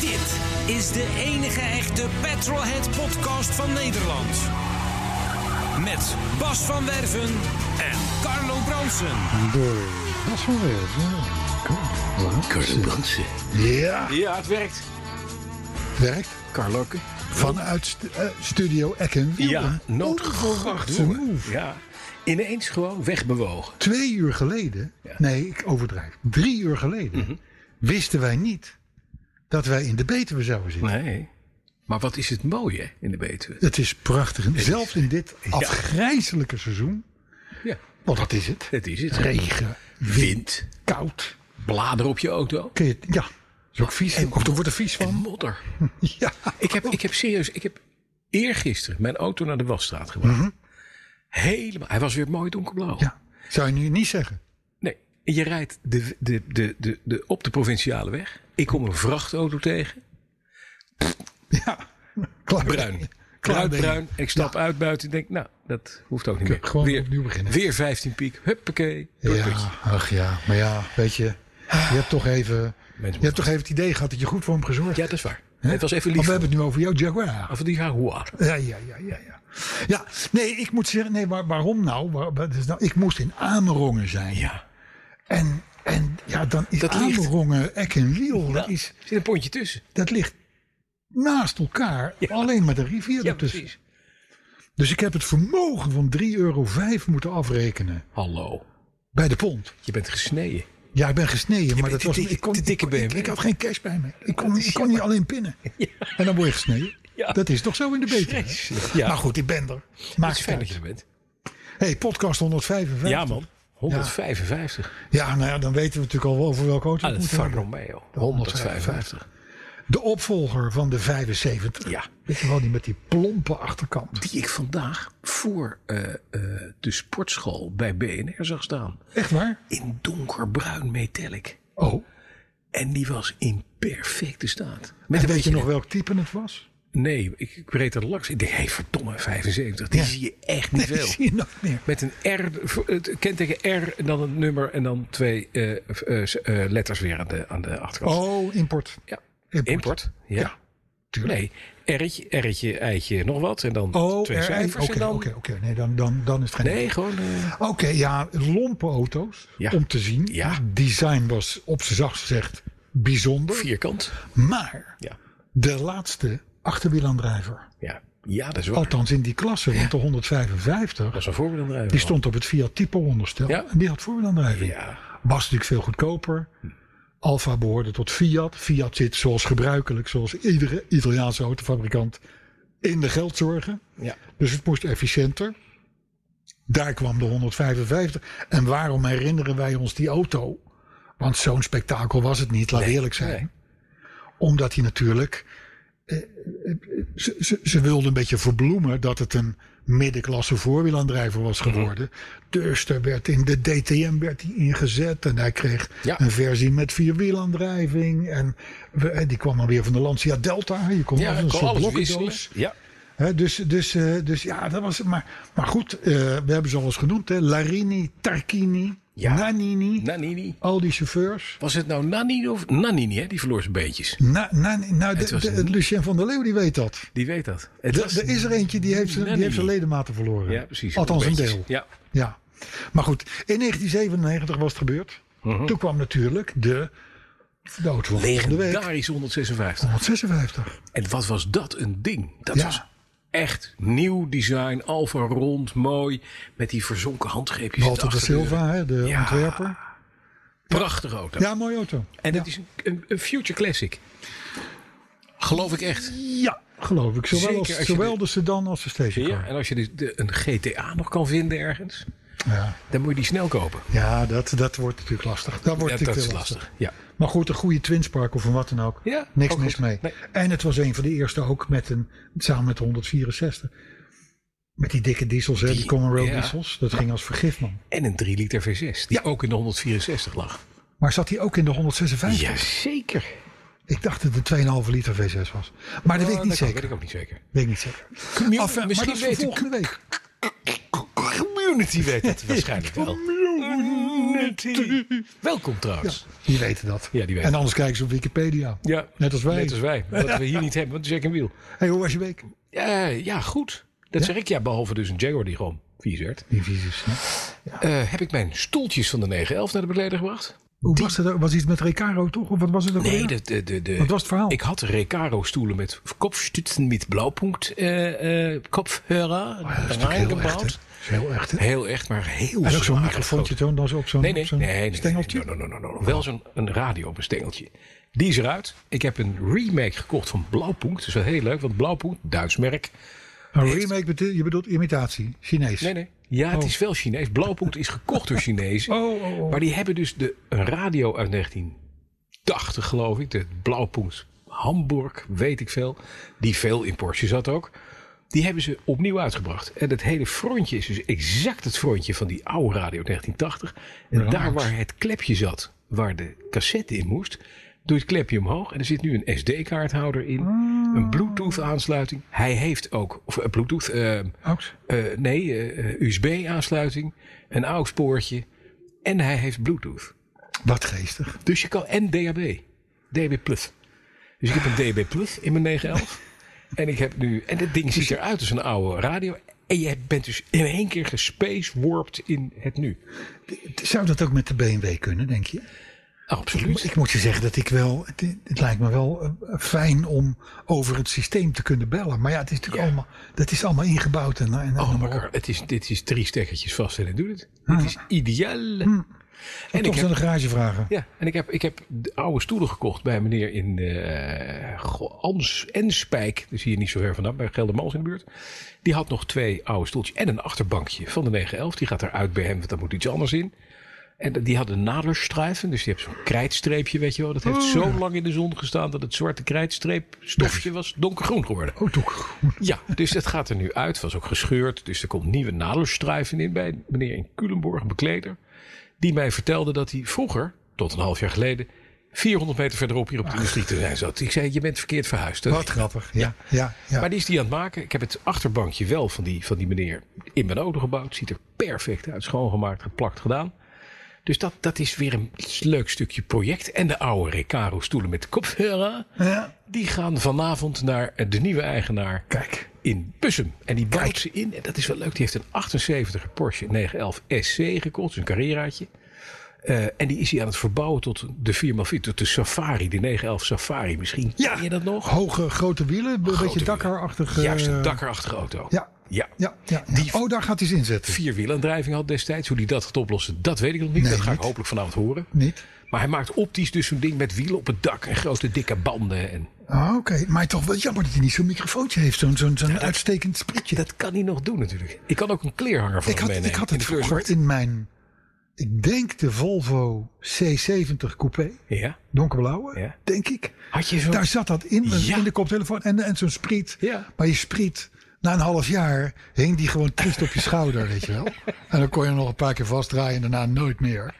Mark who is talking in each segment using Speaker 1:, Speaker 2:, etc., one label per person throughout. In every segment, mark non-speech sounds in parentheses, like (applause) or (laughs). Speaker 1: Dit is de enige echte Petrolhead podcast van Nederland. Met Bas van Werven en Carlo Bronsen.
Speaker 2: Door Bas van Werven.
Speaker 3: Carlo Bransen.
Speaker 2: Ja,
Speaker 4: Ja, het werkt.
Speaker 2: werkt
Speaker 4: Carlokke.
Speaker 2: vanuit st- eh, Studio Oh, Ecken.
Speaker 3: Ja,
Speaker 2: Onverwachte
Speaker 3: noodgewacht.
Speaker 2: move.
Speaker 3: Ja, ineens gewoon wegbewogen.
Speaker 2: Twee uur geleden, nee ik overdrijf, drie uur geleden wisten wij niet dat wij in de Betuwe zouden zitten.
Speaker 3: Nee. Maar wat is het mooi, hè, in de Betuwe.
Speaker 2: Het is prachtig. En Zelfs in dit afgrijzelijke seizoen,
Speaker 3: Ja,
Speaker 2: want dat is het.
Speaker 3: dat is het.
Speaker 2: Regen,
Speaker 3: Wind,
Speaker 2: koud.
Speaker 3: bladeren op je auto
Speaker 2: Kun je, het- ja, is ook vies. Of er wordt er vies
Speaker 3: en
Speaker 2: van.
Speaker 3: modder.
Speaker 2: (laughs)
Speaker 3: Oh.
Speaker 2: Ja.
Speaker 3: Ik heb, ik heb serieus, ik heb eergisteren mijn auto naar de wasstraat gebracht. Helemaal, hij was weer mooi donkerblauw.
Speaker 2: ja, zou je nu niet zeggen.
Speaker 3: Nee, je rijdt de, de, de, de, de, op de provinciale weg. Ik kom een vrachtauto tegen.
Speaker 2: Ja, klaar.
Speaker 3: Bruin.
Speaker 2: (laughs) Klaar
Speaker 3: Klaar
Speaker 2: ben je.
Speaker 3: bruin. Ik stap uit buiten en denk, nou, dat hoeft ook niet meer.
Speaker 2: gewoon
Speaker 3: weer,
Speaker 2: opnieuw beginnen.
Speaker 3: Weer 15 piek. Huppakee. Door het putje.
Speaker 2: Ja, ach ja, maar ja, weet je, je hebt toch even, je
Speaker 3: moeten-
Speaker 2: hebt toch even het idee gehad dat je goed voor hem gezorgd
Speaker 3: Ja,
Speaker 2: hebt.
Speaker 3: dat is waar.
Speaker 2: hè?
Speaker 3: Het was even
Speaker 2: Want
Speaker 3: lief.
Speaker 2: we hebben het nu over jouw Jaguar.
Speaker 3: Of die Jaguar.
Speaker 2: Ja, ja, ja, ja, ja. Ja, nee, ik moet zeggen, nee, waar- waarom nou? Waar, wat is nou? Ik moest in Amerongen zijn.
Speaker 3: Ja.
Speaker 2: En, en ja, dan is
Speaker 3: Dat ligt-
Speaker 2: Amerongen, Eck en Wiel, dat,
Speaker 3: Er
Speaker 2: is,
Speaker 3: zit een pontje tussen.
Speaker 2: dat ligt naast elkaar,
Speaker 3: Ja.
Speaker 2: alleen maar de rivier
Speaker 3: Ja,
Speaker 2: ertussen.
Speaker 3: precies.
Speaker 2: Dus ik heb het vermogen van 3,5 euro moeten afrekenen
Speaker 3: Hallo.
Speaker 2: bij de pond.
Speaker 3: Je bent gesneden.
Speaker 2: Ja, ik ben gesneden, maar
Speaker 3: bent
Speaker 2: dat
Speaker 3: de
Speaker 2: was
Speaker 3: dikke-
Speaker 2: ik kon,
Speaker 3: de dikke
Speaker 2: ik kon- ik-
Speaker 3: BMW.
Speaker 2: Ik, had geen cash bij me. Ik kon,
Speaker 3: Dat is
Speaker 2: ik kon
Speaker 3: jammer.
Speaker 2: niet alleen
Speaker 3: (laughs)
Speaker 2: pinnen. En dan word je gesneden.
Speaker 3: Ja.
Speaker 2: Dat is toch zo in de beter.
Speaker 3: Vreselijk.
Speaker 2: hè?
Speaker 3: Ja.
Speaker 2: Maar goed, ik ben er. Maak
Speaker 3: Het is
Speaker 2: het
Speaker 3: fijn
Speaker 2: uit.
Speaker 3: dat je er bent.
Speaker 2: Hey, podcast 155.
Speaker 3: Ja, man. 155.
Speaker 2: Ja, nou ja, dan weten we natuurlijk al wel voor welke auto
Speaker 3: Aan
Speaker 2: we
Speaker 3: het
Speaker 2: moeten
Speaker 3: Van
Speaker 2: hebben.
Speaker 3: Romeo.
Speaker 2: 155.
Speaker 3: 155.
Speaker 2: De opvolger van de 75.
Speaker 3: Ja.
Speaker 2: Weet je wel, die met die plompe achterkant.
Speaker 3: Die ik vandaag voor eh, eh, de sportschool bij BNR zag staan.
Speaker 2: Echt waar?
Speaker 3: In donkerbruin metallic.
Speaker 2: Oh.
Speaker 3: En die was in perfecte staat.
Speaker 2: En
Speaker 3: Met
Speaker 2: weet je nog welk type het was?
Speaker 3: Nee, ik, ik reed er langs. Ik denk, hé, verdomme, 75. (laughs) Die
Speaker 2: Ja.
Speaker 3: zie je echt niet
Speaker 2: Die
Speaker 3: veel.
Speaker 2: zie je nog meer.
Speaker 3: Met een R, voor- het kenteken R en dan een nummer en dan twee eh, eh, s- eh, letters weer aan de, aan de achterkant.
Speaker 2: Oh, import.
Speaker 3: ja.
Speaker 2: import.
Speaker 3: Import. Ja. Nee, R'tje, R'tje, eitje, nog wat. En dan
Speaker 2: Oh,
Speaker 3: twee
Speaker 2: RI.
Speaker 3: cijfers. en
Speaker 2: Oké,
Speaker 3: dan,
Speaker 2: oké, oké. Nee, dan, dan, dan is het geen
Speaker 3: Nee, gewoon... eh,
Speaker 2: Oké, ja, lompe auto's
Speaker 3: Ja.
Speaker 2: om te zien.
Speaker 3: Ja.
Speaker 2: Design was op zijn zachtst gezegd bijzonder.
Speaker 3: vierkant.
Speaker 2: Maar
Speaker 3: Ja.
Speaker 2: de laatste achterwielaandrijver,
Speaker 3: Ja. ja, dat is waar.
Speaker 2: althans in die klasse, want de 155,
Speaker 3: Dat is een voorbeeld.
Speaker 2: die stond op het Fiat Tipo onderstel.
Speaker 3: Ja.
Speaker 2: En die had voorwielaandrijving.
Speaker 3: Ja.
Speaker 2: Was natuurlijk veel goedkoper. Alfa behoorde tot Fiat. Fiat zit zoals gebruikelijk, zoals iedere Italiaanse autofabrikant, in de geldzorgen.
Speaker 3: Ja.
Speaker 2: Dus het moest efficiënter. Daar kwam de 155. En waarom herinneren wij ons die auto? Want zo'n spektakel was het niet, laat eerlijk zijn.
Speaker 3: nee.
Speaker 2: Omdat hij natuurlijk. eh, eh, Ze, ze, ze wilden een beetje verbloemen dat het een middenklasse voorwielaandrijver was
Speaker 3: Mhm.
Speaker 2: geworden. Dus er werd in de DTM werd hij ingezet. En hij kreeg
Speaker 3: Ja.
Speaker 2: een versie met vierwielaandrijving. En we- eh, die kwam dan weer van de Lancia Delta. Je kon
Speaker 3: Ja,
Speaker 2: als
Speaker 3: ik
Speaker 2: een
Speaker 3: kon
Speaker 2: soort
Speaker 3: alles
Speaker 2: blokkendoos.
Speaker 3: wisselen. Ja.
Speaker 2: Hè, dus, dus, eh, dus ja, dat was. Maar, maar goed, eh, we hebben ze al eens genoemd: hè. Larini, Tarkini,
Speaker 3: Ja.
Speaker 2: Nanini.
Speaker 3: Nanini.
Speaker 2: al die chauffeurs.
Speaker 3: Was het nou Nanini of... Nanini, hè? Die verloor zijn beentjes.
Speaker 2: Na, na, nou, de,
Speaker 3: Het was
Speaker 2: de-
Speaker 3: een-
Speaker 2: Lucien van der Leeuw die weet dat.
Speaker 3: Die weet dat. Het
Speaker 2: Er-
Speaker 3: was
Speaker 2: Er is er eentje die heeft, zijn- die
Speaker 3: Nanini.
Speaker 2: heeft zijn ledematen verloren.
Speaker 3: Ja, precies.
Speaker 2: Althans een
Speaker 3: Beentjes.
Speaker 2: deel.
Speaker 3: Ja.
Speaker 2: Ja. Maar goed, in 1997 was het gebeurd.
Speaker 3: Mhm.
Speaker 2: Toen kwam natuurlijk de, de auto van volgende week.
Speaker 3: Legendarisch 156.
Speaker 2: 156.
Speaker 3: En wat was dat een ding? Dat
Speaker 2: Ja.
Speaker 3: was echt nieuw design, alfa rond, mooi. Met die verzonken handgreepjes. in de
Speaker 2: Walter de
Speaker 3: achterdeur.
Speaker 2: Silva, hè, de
Speaker 3: Ja.
Speaker 2: ontwerper.
Speaker 3: Prachtige auto.
Speaker 2: Ja, mooie auto.
Speaker 3: En
Speaker 2: ja.
Speaker 3: dat is een, een, een future classic. Geloof ik echt.
Speaker 2: Ja, geloof ik. Zowel,
Speaker 3: Zeker
Speaker 2: als,
Speaker 3: als je
Speaker 2: zowel
Speaker 3: de-
Speaker 2: de sedan als de stationcar.
Speaker 3: En als je de, de- een GTA nog kan vinden ergens.
Speaker 2: Ja.
Speaker 3: Dan moet je die snel kopen.
Speaker 2: Ja, dat, dat wordt natuurlijk lastig. Dat wordt
Speaker 3: Ja, dat
Speaker 2: natuurlijk
Speaker 3: is
Speaker 2: heel
Speaker 3: lastig. Ja.
Speaker 2: Maar goed, een goede twinspark of een wat dan ook.
Speaker 3: Ja,
Speaker 2: Niks
Speaker 3: ook
Speaker 2: mis
Speaker 3: goed.
Speaker 2: mee.
Speaker 3: Nee.
Speaker 2: En het was een van de eerste ook met een, samen met de 164. Met die dikke diesels, hè, die,
Speaker 3: Die-
Speaker 2: Common Rail
Speaker 3: ja.
Speaker 2: diesels. Dat ging als vergif, man.
Speaker 3: En een 3 liter V6, die ook in de 164 lag.
Speaker 2: Maar zat hij ook in de 156?
Speaker 3: Jazeker.
Speaker 2: Ik dacht dat het een 2,5 liter V6 was. Maar dat weet ik niet
Speaker 3: Oh, Ah, Dat weet
Speaker 2: zeker.
Speaker 3: ik ook niet zeker.
Speaker 2: Weet ik niet zeker.
Speaker 3: Commu-
Speaker 2: Enfin, maar
Speaker 3: misschien
Speaker 2: dat is voor
Speaker 3: weet de
Speaker 2: volgende week.
Speaker 3: community weet
Speaker 2: (laughs)
Speaker 3: het waarschijnlijk wel. Community. Welkom trouwens.
Speaker 2: Die weten dat.
Speaker 3: Ja, die weten
Speaker 2: en anders kijken ze op Wikipedia.
Speaker 3: Ja.
Speaker 2: Net als wij.
Speaker 3: Net als wij. Wat we hier niet hebben, want Jack en Wiel.
Speaker 2: Hey, hoe was je week?
Speaker 3: Eh, ja, goed. Dat zeg ik ja, behalve dus een Jaguar die gewoon vies werd.
Speaker 2: Die visies.
Speaker 3: Eh, heb ik mijn stoeltjes van de 911 naar de bekleder gebracht?
Speaker 2: Hoe was het? ook? Was iets met Recaro toch? Of wat was het ook?
Speaker 3: Nee,
Speaker 2: alweer?
Speaker 3: de, de, de, de-
Speaker 2: Wat was het verhaal?
Speaker 3: Ik had Recaro stoelen met kopstutzen met blauwpunkt eh eh kopfhörer
Speaker 2: Oh dat is natuurlijk heel echt, hè?
Speaker 3: reingebouwd.
Speaker 2: Dat is heel echt, hè?
Speaker 3: Heel echt, maar heel
Speaker 2: En ook zo'n
Speaker 3: zwaar
Speaker 2: microfoontje
Speaker 3: groot.
Speaker 2: toen, dan zo op zo'n
Speaker 3: Nee, nee,
Speaker 2: op zo'n
Speaker 3: nee, nee, nee.
Speaker 2: stengeltje.
Speaker 3: No, no, no, no, no. Wel zo'n een radio op een stengeltje. Die is eruit. Ik heb een remake gekocht van Blauwpunkt. Dat is wel heel leuk, want Blauwpunkt, Duits merk.
Speaker 2: Een remake, bedoel, Nou, je bedoelt imitatie, Chinees.
Speaker 3: Nee, nee. Ja, het
Speaker 2: Oh.
Speaker 3: is wel Chinees. Blauwpunkt is gekocht door Chinezen.
Speaker 2: (laughs) Oh, oh, oh.
Speaker 3: Maar die hebben dus de, een radio uit 1980, geloof ik. De Blauwpunkt Hamburg, weet ik veel. Die veel in Porsche zat ook. Die hebben ze opnieuw uitgebracht. En het hele frontje is dus exact het frontje van die oude radio uit 1980. En daar waar het klepje zat, waar de cassette in moest, doe je het klepje omhoog. En er zit nu een SD-kaarthouder in.
Speaker 2: Ah.
Speaker 3: Een Bluetooth-aansluiting. Hij heeft ook, of een Bluetooth, eh,
Speaker 2: Aux.
Speaker 3: eh, nee, USB-aansluiting, een AUX-poortje en hij heeft Bluetooth.
Speaker 2: Wat geestig.
Speaker 3: Dus je kan en DAB, DAB+. Plus. Dus ik heb een DAB+ Plus in mijn 911
Speaker 2: (laughs)
Speaker 3: en ik heb nu en dit ding ziet eruit als een oude radio. En je bent dus in één keer gespacewarped in het nu.
Speaker 2: Zou dat ook met de BMW kunnen, denk je?
Speaker 3: Absoluut.
Speaker 2: Ik moet je zeggen dat ik wel, het, het lijkt me wel eh, fijn om over het systeem te kunnen bellen. Maar ja, het is natuurlijk
Speaker 3: Ja.
Speaker 2: allemaal, dat is allemaal ingebouwd. En, en,
Speaker 3: Oh,
Speaker 2: en-
Speaker 3: maar het is, dit is drie stekkertjes vast en het doet het. Dit is
Speaker 2: Hm.
Speaker 3: ideaal. En
Speaker 2: toch
Speaker 3: ik
Speaker 2: naar
Speaker 3: heb,
Speaker 2: de garage vragen.
Speaker 3: ja, en ik heb, ik heb de oude stoelen gekocht bij meneer in eh, Go- Ans en Spijk. Dus hier niet zo ver vandaan, bij Geldermals in de buurt. Die had nog twee oude stoeltjes en een achterbankje van de 911. Die gaat eruit bij hem, want daar moet iets anders in. En die had een naderstrijven, dus die heeft zo'n krijtstreepje, weet je wel. Dat heeft zo lang in de zon gestaan dat het zwarte krijtstreep stofje was donkergroen geworden.
Speaker 2: Oh, toch.
Speaker 3: Ja, dus dat gaat er nu uit. Was ook gescheurd. Dus er komt nieuwe nadelstrijven in bij meneer in Culemborg, een bekleder. Die mij vertelde dat hij vroeger, tot een half jaar geleden, 400 meter verderop hier op de industrie te zijn zat. Ik zei, je bent verkeerd verhuisd. Dat-
Speaker 2: Wat grappig. Ja, ja, ja.
Speaker 3: Maar die is die aan het maken. Ik heb het achterbankje wel van die, van die meneer in mijn auto gebouwd. Ziet er perfect uit. Schoongemaakt, geplakt, gedaan. Dus dat, dat is weer een leuk stukje project. En de oude Recaro stoelen met kopfhörer.
Speaker 2: Ja.
Speaker 3: Die gaan vanavond naar eh, de nieuwe eigenaar
Speaker 2: Kijk.
Speaker 3: in Bussum. En die bouwt ze in. En dat is wel leuk. Die heeft een 78 Porsche 911 SC gekocht. Een carreraatje. Eh, en die is hij aan het verbouwen tot de 4x4. Tot de Safari. De 911 Safari. Misschien
Speaker 2: Ja.
Speaker 3: ken je dat nog?
Speaker 2: Hoge, grote wielen, een beetje
Speaker 3: wielen.
Speaker 2: dakkerachtig. eh,
Speaker 3: Juist, een dakkerachtige auto.
Speaker 2: Ja.
Speaker 3: ja.
Speaker 2: Ja, ja, ja. oh, daar gaat hij ze
Speaker 3: (laughs)
Speaker 2: inzetten.
Speaker 3: Vierwielaandrijving had destijds. Hoe die dat gaat oplossen, dat weet ik nog niet.
Speaker 2: Nee,
Speaker 3: dat ga ik
Speaker 2: niet.
Speaker 3: hopelijk vanavond horen.
Speaker 2: Niet?
Speaker 3: Maar hij maakt optisch dus zo'n ding met wielen op het dak en grote dikke banden. En
Speaker 2: Ah, Oké, maar toch wel jammer dat hij niet zo'n microfoontje heeft. Zo'n zo'n zo'n uitstekend sprietje.
Speaker 3: dat kan hij nog doen natuurlijk. Ik kan ook een kleerhanger van
Speaker 2: ik, had,
Speaker 3: hem meenemen.
Speaker 2: ik had
Speaker 3: in
Speaker 2: het
Speaker 3: de kleur
Speaker 2: vroeger
Speaker 3: zwart.
Speaker 2: in mijn, ik denk de Volvo C70 Coupé,
Speaker 3: Ja.
Speaker 2: donkerblauwe,
Speaker 3: Ja.
Speaker 2: denk ik.
Speaker 3: Had je zo'n...
Speaker 2: Daar zat dat in,
Speaker 3: Ja.
Speaker 2: in de koptelefoon en, en zo'n spriet.
Speaker 3: Ja.
Speaker 2: Maar je spriet, na een half jaar hing die gewoon triest op je schouder, weet je wel.
Speaker 3: (laughs)
Speaker 2: En dan kon je hem nog een paar keer vastdraaien en daarna nooit meer.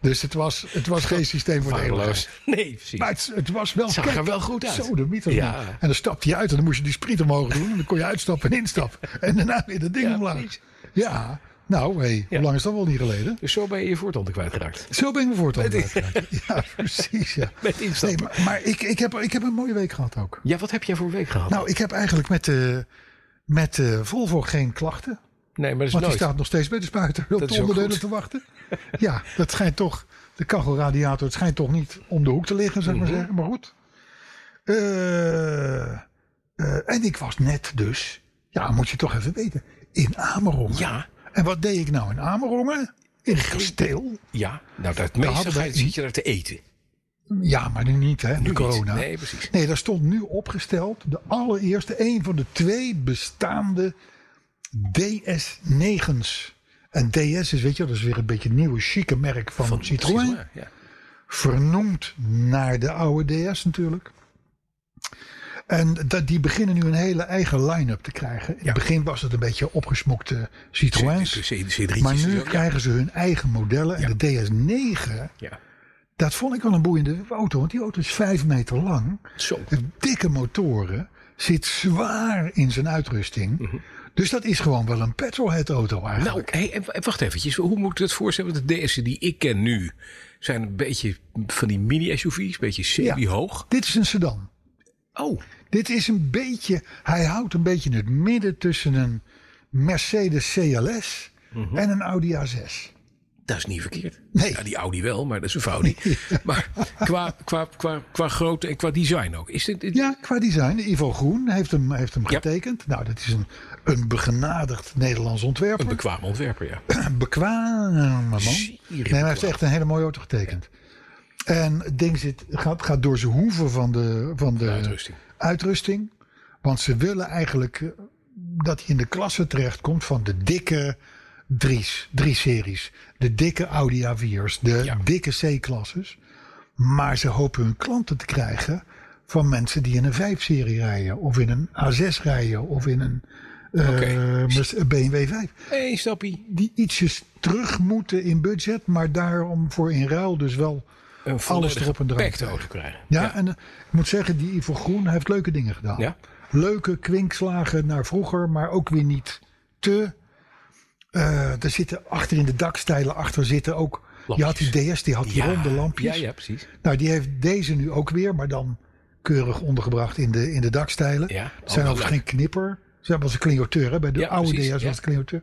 Speaker 2: Dus het was, het was geen systeem voor de eeuwigheid.
Speaker 3: Waardeloos. (laughs) Nee, precies.
Speaker 2: Maar het, het was wel
Speaker 3: Zag
Speaker 2: kijk,
Speaker 3: er wel goed uit.
Speaker 2: Zo de mythe.
Speaker 3: Ja.
Speaker 2: En dan stapte je uit en dan moest je die spriet omhoog doen. En dan kon je uitstappen en instappen. En daarna weer dat ding
Speaker 3: Ja,
Speaker 2: omlaag.
Speaker 3: precies.
Speaker 2: Ja, nou, hey, hoe lang is dat wel niet geleden?
Speaker 3: Dus zo ben je je voortanden kwijtgeraakt.
Speaker 2: Zo ben ik me voortaan
Speaker 3: (laughs)
Speaker 2: kwijtgeraakt. Ja, precies. Ja.
Speaker 3: Met
Speaker 2: Nee,
Speaker 3: instappen.
Speaker 2: maar maar ik, ik, heb, ik heb een mooie week gehad ook.
Speaker 3: Ja, wat heb jij voor week gehad?
Speaker 2: Nou, ik heb eigenlijk met de, met de Volvo geen klachten.
Speaker 3: nee, maar dat is
Speaker 2: Want die
Speaker 3: nooit.
Speaker 2: staat nog steeds bij de spuiter op
Speaker 3: is
Speaker 2: de
Speaker 3: ook
Speaker 2: onderdelen
Speaker 3: goed.
Speaker 2: te wachten. Ja, dat schijnt toch, de kachelradiator, het schijnt toch niet om de hoek te liggen, zou ik
Speaker 3: Mhm.
Speaker 2: maar zeggen. Maar goed. Eh, eh, en ik was net dus, ja, moet je toch even weten, in Amerongen.
Speaker 3: Ja.
Speaker 2: En wat deed ik nou in Amerongen? In een kasteel.
Speaker 3: Ja, nou, dat
Speaker 2: hadden
Speaker 3: meestal
Speaker 2: wij-
Speaker 3: zit je daar te eten.
Speaker 2: Ja, maar nu niet, hè,
Speaker 3: Nu
Speaker 2: nu
Speaker 3: niet.
Speaker 2: corona.
Speaker 3: Nee, precies.
Speaker 2: Nee, daar stond nu opgesteld de allereerste, een van de twee bestaande DS9's. En DS is, weet je, wel, dat is weer een beetje een nieuwe, chique merk van, Citroën.
Speaker 3: Ja.
Speaker 2: Vernoemd naar de oude DS natuurlijk. En dat, die beginnen nu een hele eigen line-up te krijgen. In
Speaker 3: Ja.
Speaker 2: het begin was het een beetje opgesmokte Citroëns.
Speaker 3: C- C- C3'tjes
Speaker 2: Maar
Speaker 3: is
Speaker 2: nu
Speaker 3: ook, ja.
Speaker 2: krijgen ze hun eigen modellen. En de DS9,
Speaker 3: Ja.
Speaker 2: dat vond ik wel een boeiende auto. Want die auto is vijf meter lang.
Speaker 3: Zo.
Speaker 2: Heeft dikke motoren. Zit zwaar in zijn uitrusting. Dus dat is gewoon wel een petrolhead auto eigenlijk.
Speaker 3: Mhm. Nou, hey, en w- en wacht eventjes. Hoe moet ik dat voorstellen? Want de DS'en die ik ken nu zijn een beetje van die mini-SUV's. Een beetje semi-hoog.
Speaker 2: Dit is een sedan.
Speaker 3: Oh,
Speaker 2: Dit is een beetje, hij houdt een beetje het midden tussen een Mercedes CLS
Speaker 3: Mhm.
Speaker 2: en een Audi A6.
Speaker 3: dat is niet verkeerd.
Speaker 2: Nee.
Speaker 3: Ja, die Audi wel, maar dat is een Audi.
Speaker 2: (laughs)
Speaker 3: Maar qua, qua, qua, qua grootte en qua design ook. Is dit, dit-
Speaker 2: Ja, qua design. Ivo Groen heeft hem, heeft hem
Speaker 3: Ja.
Speaker 2: getekend. Nou, dat is een, een begenadigd Nederlands ontwerper.
Speaker 3: Een bekwaam ontwerper, ja.
Speaker 2: (clears throat) bekwame man.
Speaker 3: Zeer
Speaker 2: Nee, maar hij
Speaker 3: bekwaam.
Speaker 2: heeft echt een hele mooie auto getekend. En het ding zit, gaat, gaat door zijn hoeven van de, van de,
Speaker 3: uitrusting.
Speaker 2: uitrusting. Want ze willen eigenlijk eh, dat hij in de klasse terechtkomt van de dikke drie's, drie series. De dikke Audi A4's, de
Speaker 3: Ja.
Speaker 2: dikke C-klasses. Maar ze hopen hun klanten te krijgen van mensen die in een 5-serie rijden. Of in een A6 rijden. Of in een eh,
Speaker 3: Oké.
Speaker 2: Merce- BMW 5
Speaker 3: Eén stappie.
Speaker 2: die ietsjes terug moeten in budget, maar daarom voor in ruil dus wel
Speaker 3: Een
Speaker 2: alles
Speaker 3: volledig
Speaker 2: erop en eraan.
Speaker 3: perfecte
Speaker 2: krijgen.
Speaker 3: auto krijgen.
Speaker 2: Ja, en eh, ik moet zeggen, die Ivo Groen heeft leuke dingen gedaan.
Speaker 3: Ja.
Speaker 2: Leuke kwinkslagen naar vroeger, maar ook weer niet te. Eh, er zitten achter in de dakstijlen achter zitten ook. Je had
Speaker 3: Lampjes.
Speaker 2: die DS, die had die
Speaker 3: Ja,
Speaker 2: ronde lampjes.
Speaker 3: Ja, ja, precies.
Speaker 2: Nou, die heeft deze nu ook weer, maar dan keurig ondergebracht in de, in de dakstijlen.
Speaker 3: Ja,
Speaker 2: het zijn
Speaker 3: oh,
Speaker 2: overigens
Speaker 3: leuk.
Speaker 2: geen knipper. Ze hebben als een clignoteur. hè. Bij de
Speaker 3: Ja,
Speaker 2: oude
Speaker 3: precies,
Speaker 2: DS
Speaker 3: ja.
Speaker 2: was het clignoteur.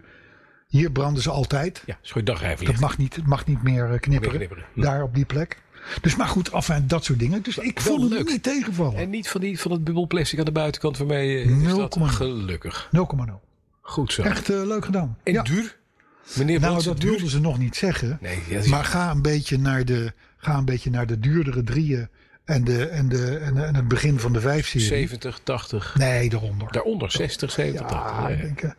Speaker 2: Hier branden ze altijd.
Speaker 3: Ja, is goed dagrijverlicht.
Speaker 2: Dat mag niet, het mag niet meer eh, knipperen.
Speaker 3: Meer knipperen. Hm.
Speaker 2: Daar op die plek. Dus maar goed, af en dat soort dingen. Dus ik
Speaker 3: Wel
Speaker 2: vond het
Speaker 3: leuk.
Speaker 2: niet tegenvallen.
Speaker 3: En niet van, die, van het bubbelplastic aan de buitenkant waarmee je in de
Speaker 2: Nul
Speaker 3: stad-
Speaker 2: komma nul.
Speaker 3: Gelukkig.
Speaker 2: 0,0.
Speaker 3: Goed zo.
Speaker 2: Echt eh, leuk gedaan.
Speaker 3: En
Speaker 2: Ja.
Speaker 3: duur? Meneer
Speaker 2: Nou,
Speaker 3: Bransen,
Speaker 2: dat
Speaker 3: duur?
Speaker 2: wilden ze nog niet zeggen.
Speaker 3: Nee, ja, dat is-
Speaker 2: maar ga een, beetje naar de, ga een beetje naar de duurdere drieën. En, de, en, de, en, de- en het begin van de vijf serie.
Speaker 3: 70, 80.
Speaker 2: Nee, daaronder.
Speaker 3: Daaronder 60, 70,
Speaker 2: ja,
Speaker 3: 80.
Speaker 2: ik
Speaker 3: Ja, ja.
Speaker 2: denk, eh,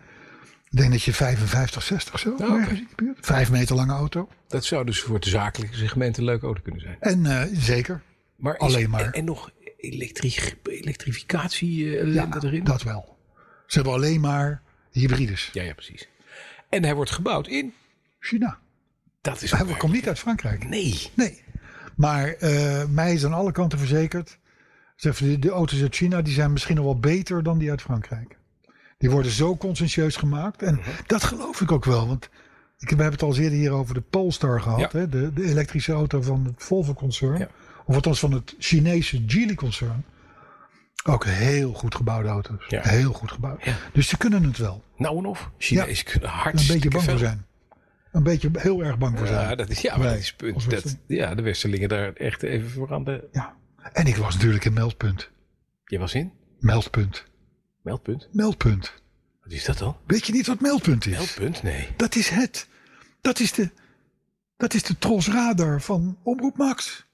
Speaker 2: ik denk dat je 55, 60 zo.
Speaker 3: Nou, oké.
Speaker 2: ergens in de buurt. Vijf meter lange auto.
Speaker 3: Dat zou dus voor het zakelijke segment een leuke auto kunnen zijn.
Speaker 2: En eh, zeker.
Speaker 3: Maar is-
Speaker 2: Alleen maar.
Speaker 3: En, en nog elektri elektrificatie
Speaker 2: Ja,
Speaker 3: eh, ellende erin?
Speaker 2: dat wel. Ze hebben alleen maar hybrides.
Speaker 3: Ja, ja, precies. En hij wordt gebouwd in...
Speaker 2: China.
Speaker 3: Dat is
Speaker 2: Hij komt niet uit Frankrijk.
Speaker 3: Nee.
Speaker 2: Nee. Maar eh, mij is aan alle kanten verzekerd. Zeg, de, de auto's uit China die zijn misschien nog wel beter dan die uit Frankrijk. Die worden zo consciëntieus gemaakt. En
Speaker 3: Mhm.
Speaker 2: dat geloof ik ook wel. Want ik, we hebben het al eens eerder hier over de Polestar gehad.
Speaker 3: Ja.
Speaker 2: Hè? De, de elektrische auto van het Volvo-concern.
Speaker 3: Ja.
Speaker 2: Of althans van het Chinese Geely-concern. Ook heel goed gebouwde auto's.
Speaker 3: Ja.
Speaker 2: Heel goed gebouwd.
Speaker 3: Ja.
Speaker 2: Dus ze kunnen het wel.
Speaker 3: Nou en of. Chinezen kunnen
Speaker 2: Een
Speaker 3: hartstikke
Speaker 2: beetje bang voor
Speaker 3: veel.
Speaker 2: zijn. Een beetje heel erg bang voor zijn.
Speaker 3: Ja, dat is, ja, maar
Speaker 2: Wij,
Speaker 3: dat is het
Speaker 2: als
Speaker 3: punt. Dat,
Speaker 2: Westerling.
Speaker 3: ja, de Westerlingen daar echt even voor aan de...
Speaker 2: Ja. En ik was natuurlijk in meldpunt.
Speaker 3: Je was in?
Speaker 2: Meldpunt.
Speaker 3: Meldpunt?
Speaker 2: Meldpunt.
Speaker 3: Wat is dat dan?
Speaker 2: Weet je niet wat meldpunt is?
Speaker 3: Meldpunt? Nee.
Speaker 2: Dat is het. Dat is de, dat is de Tros Radar van Omroep Max.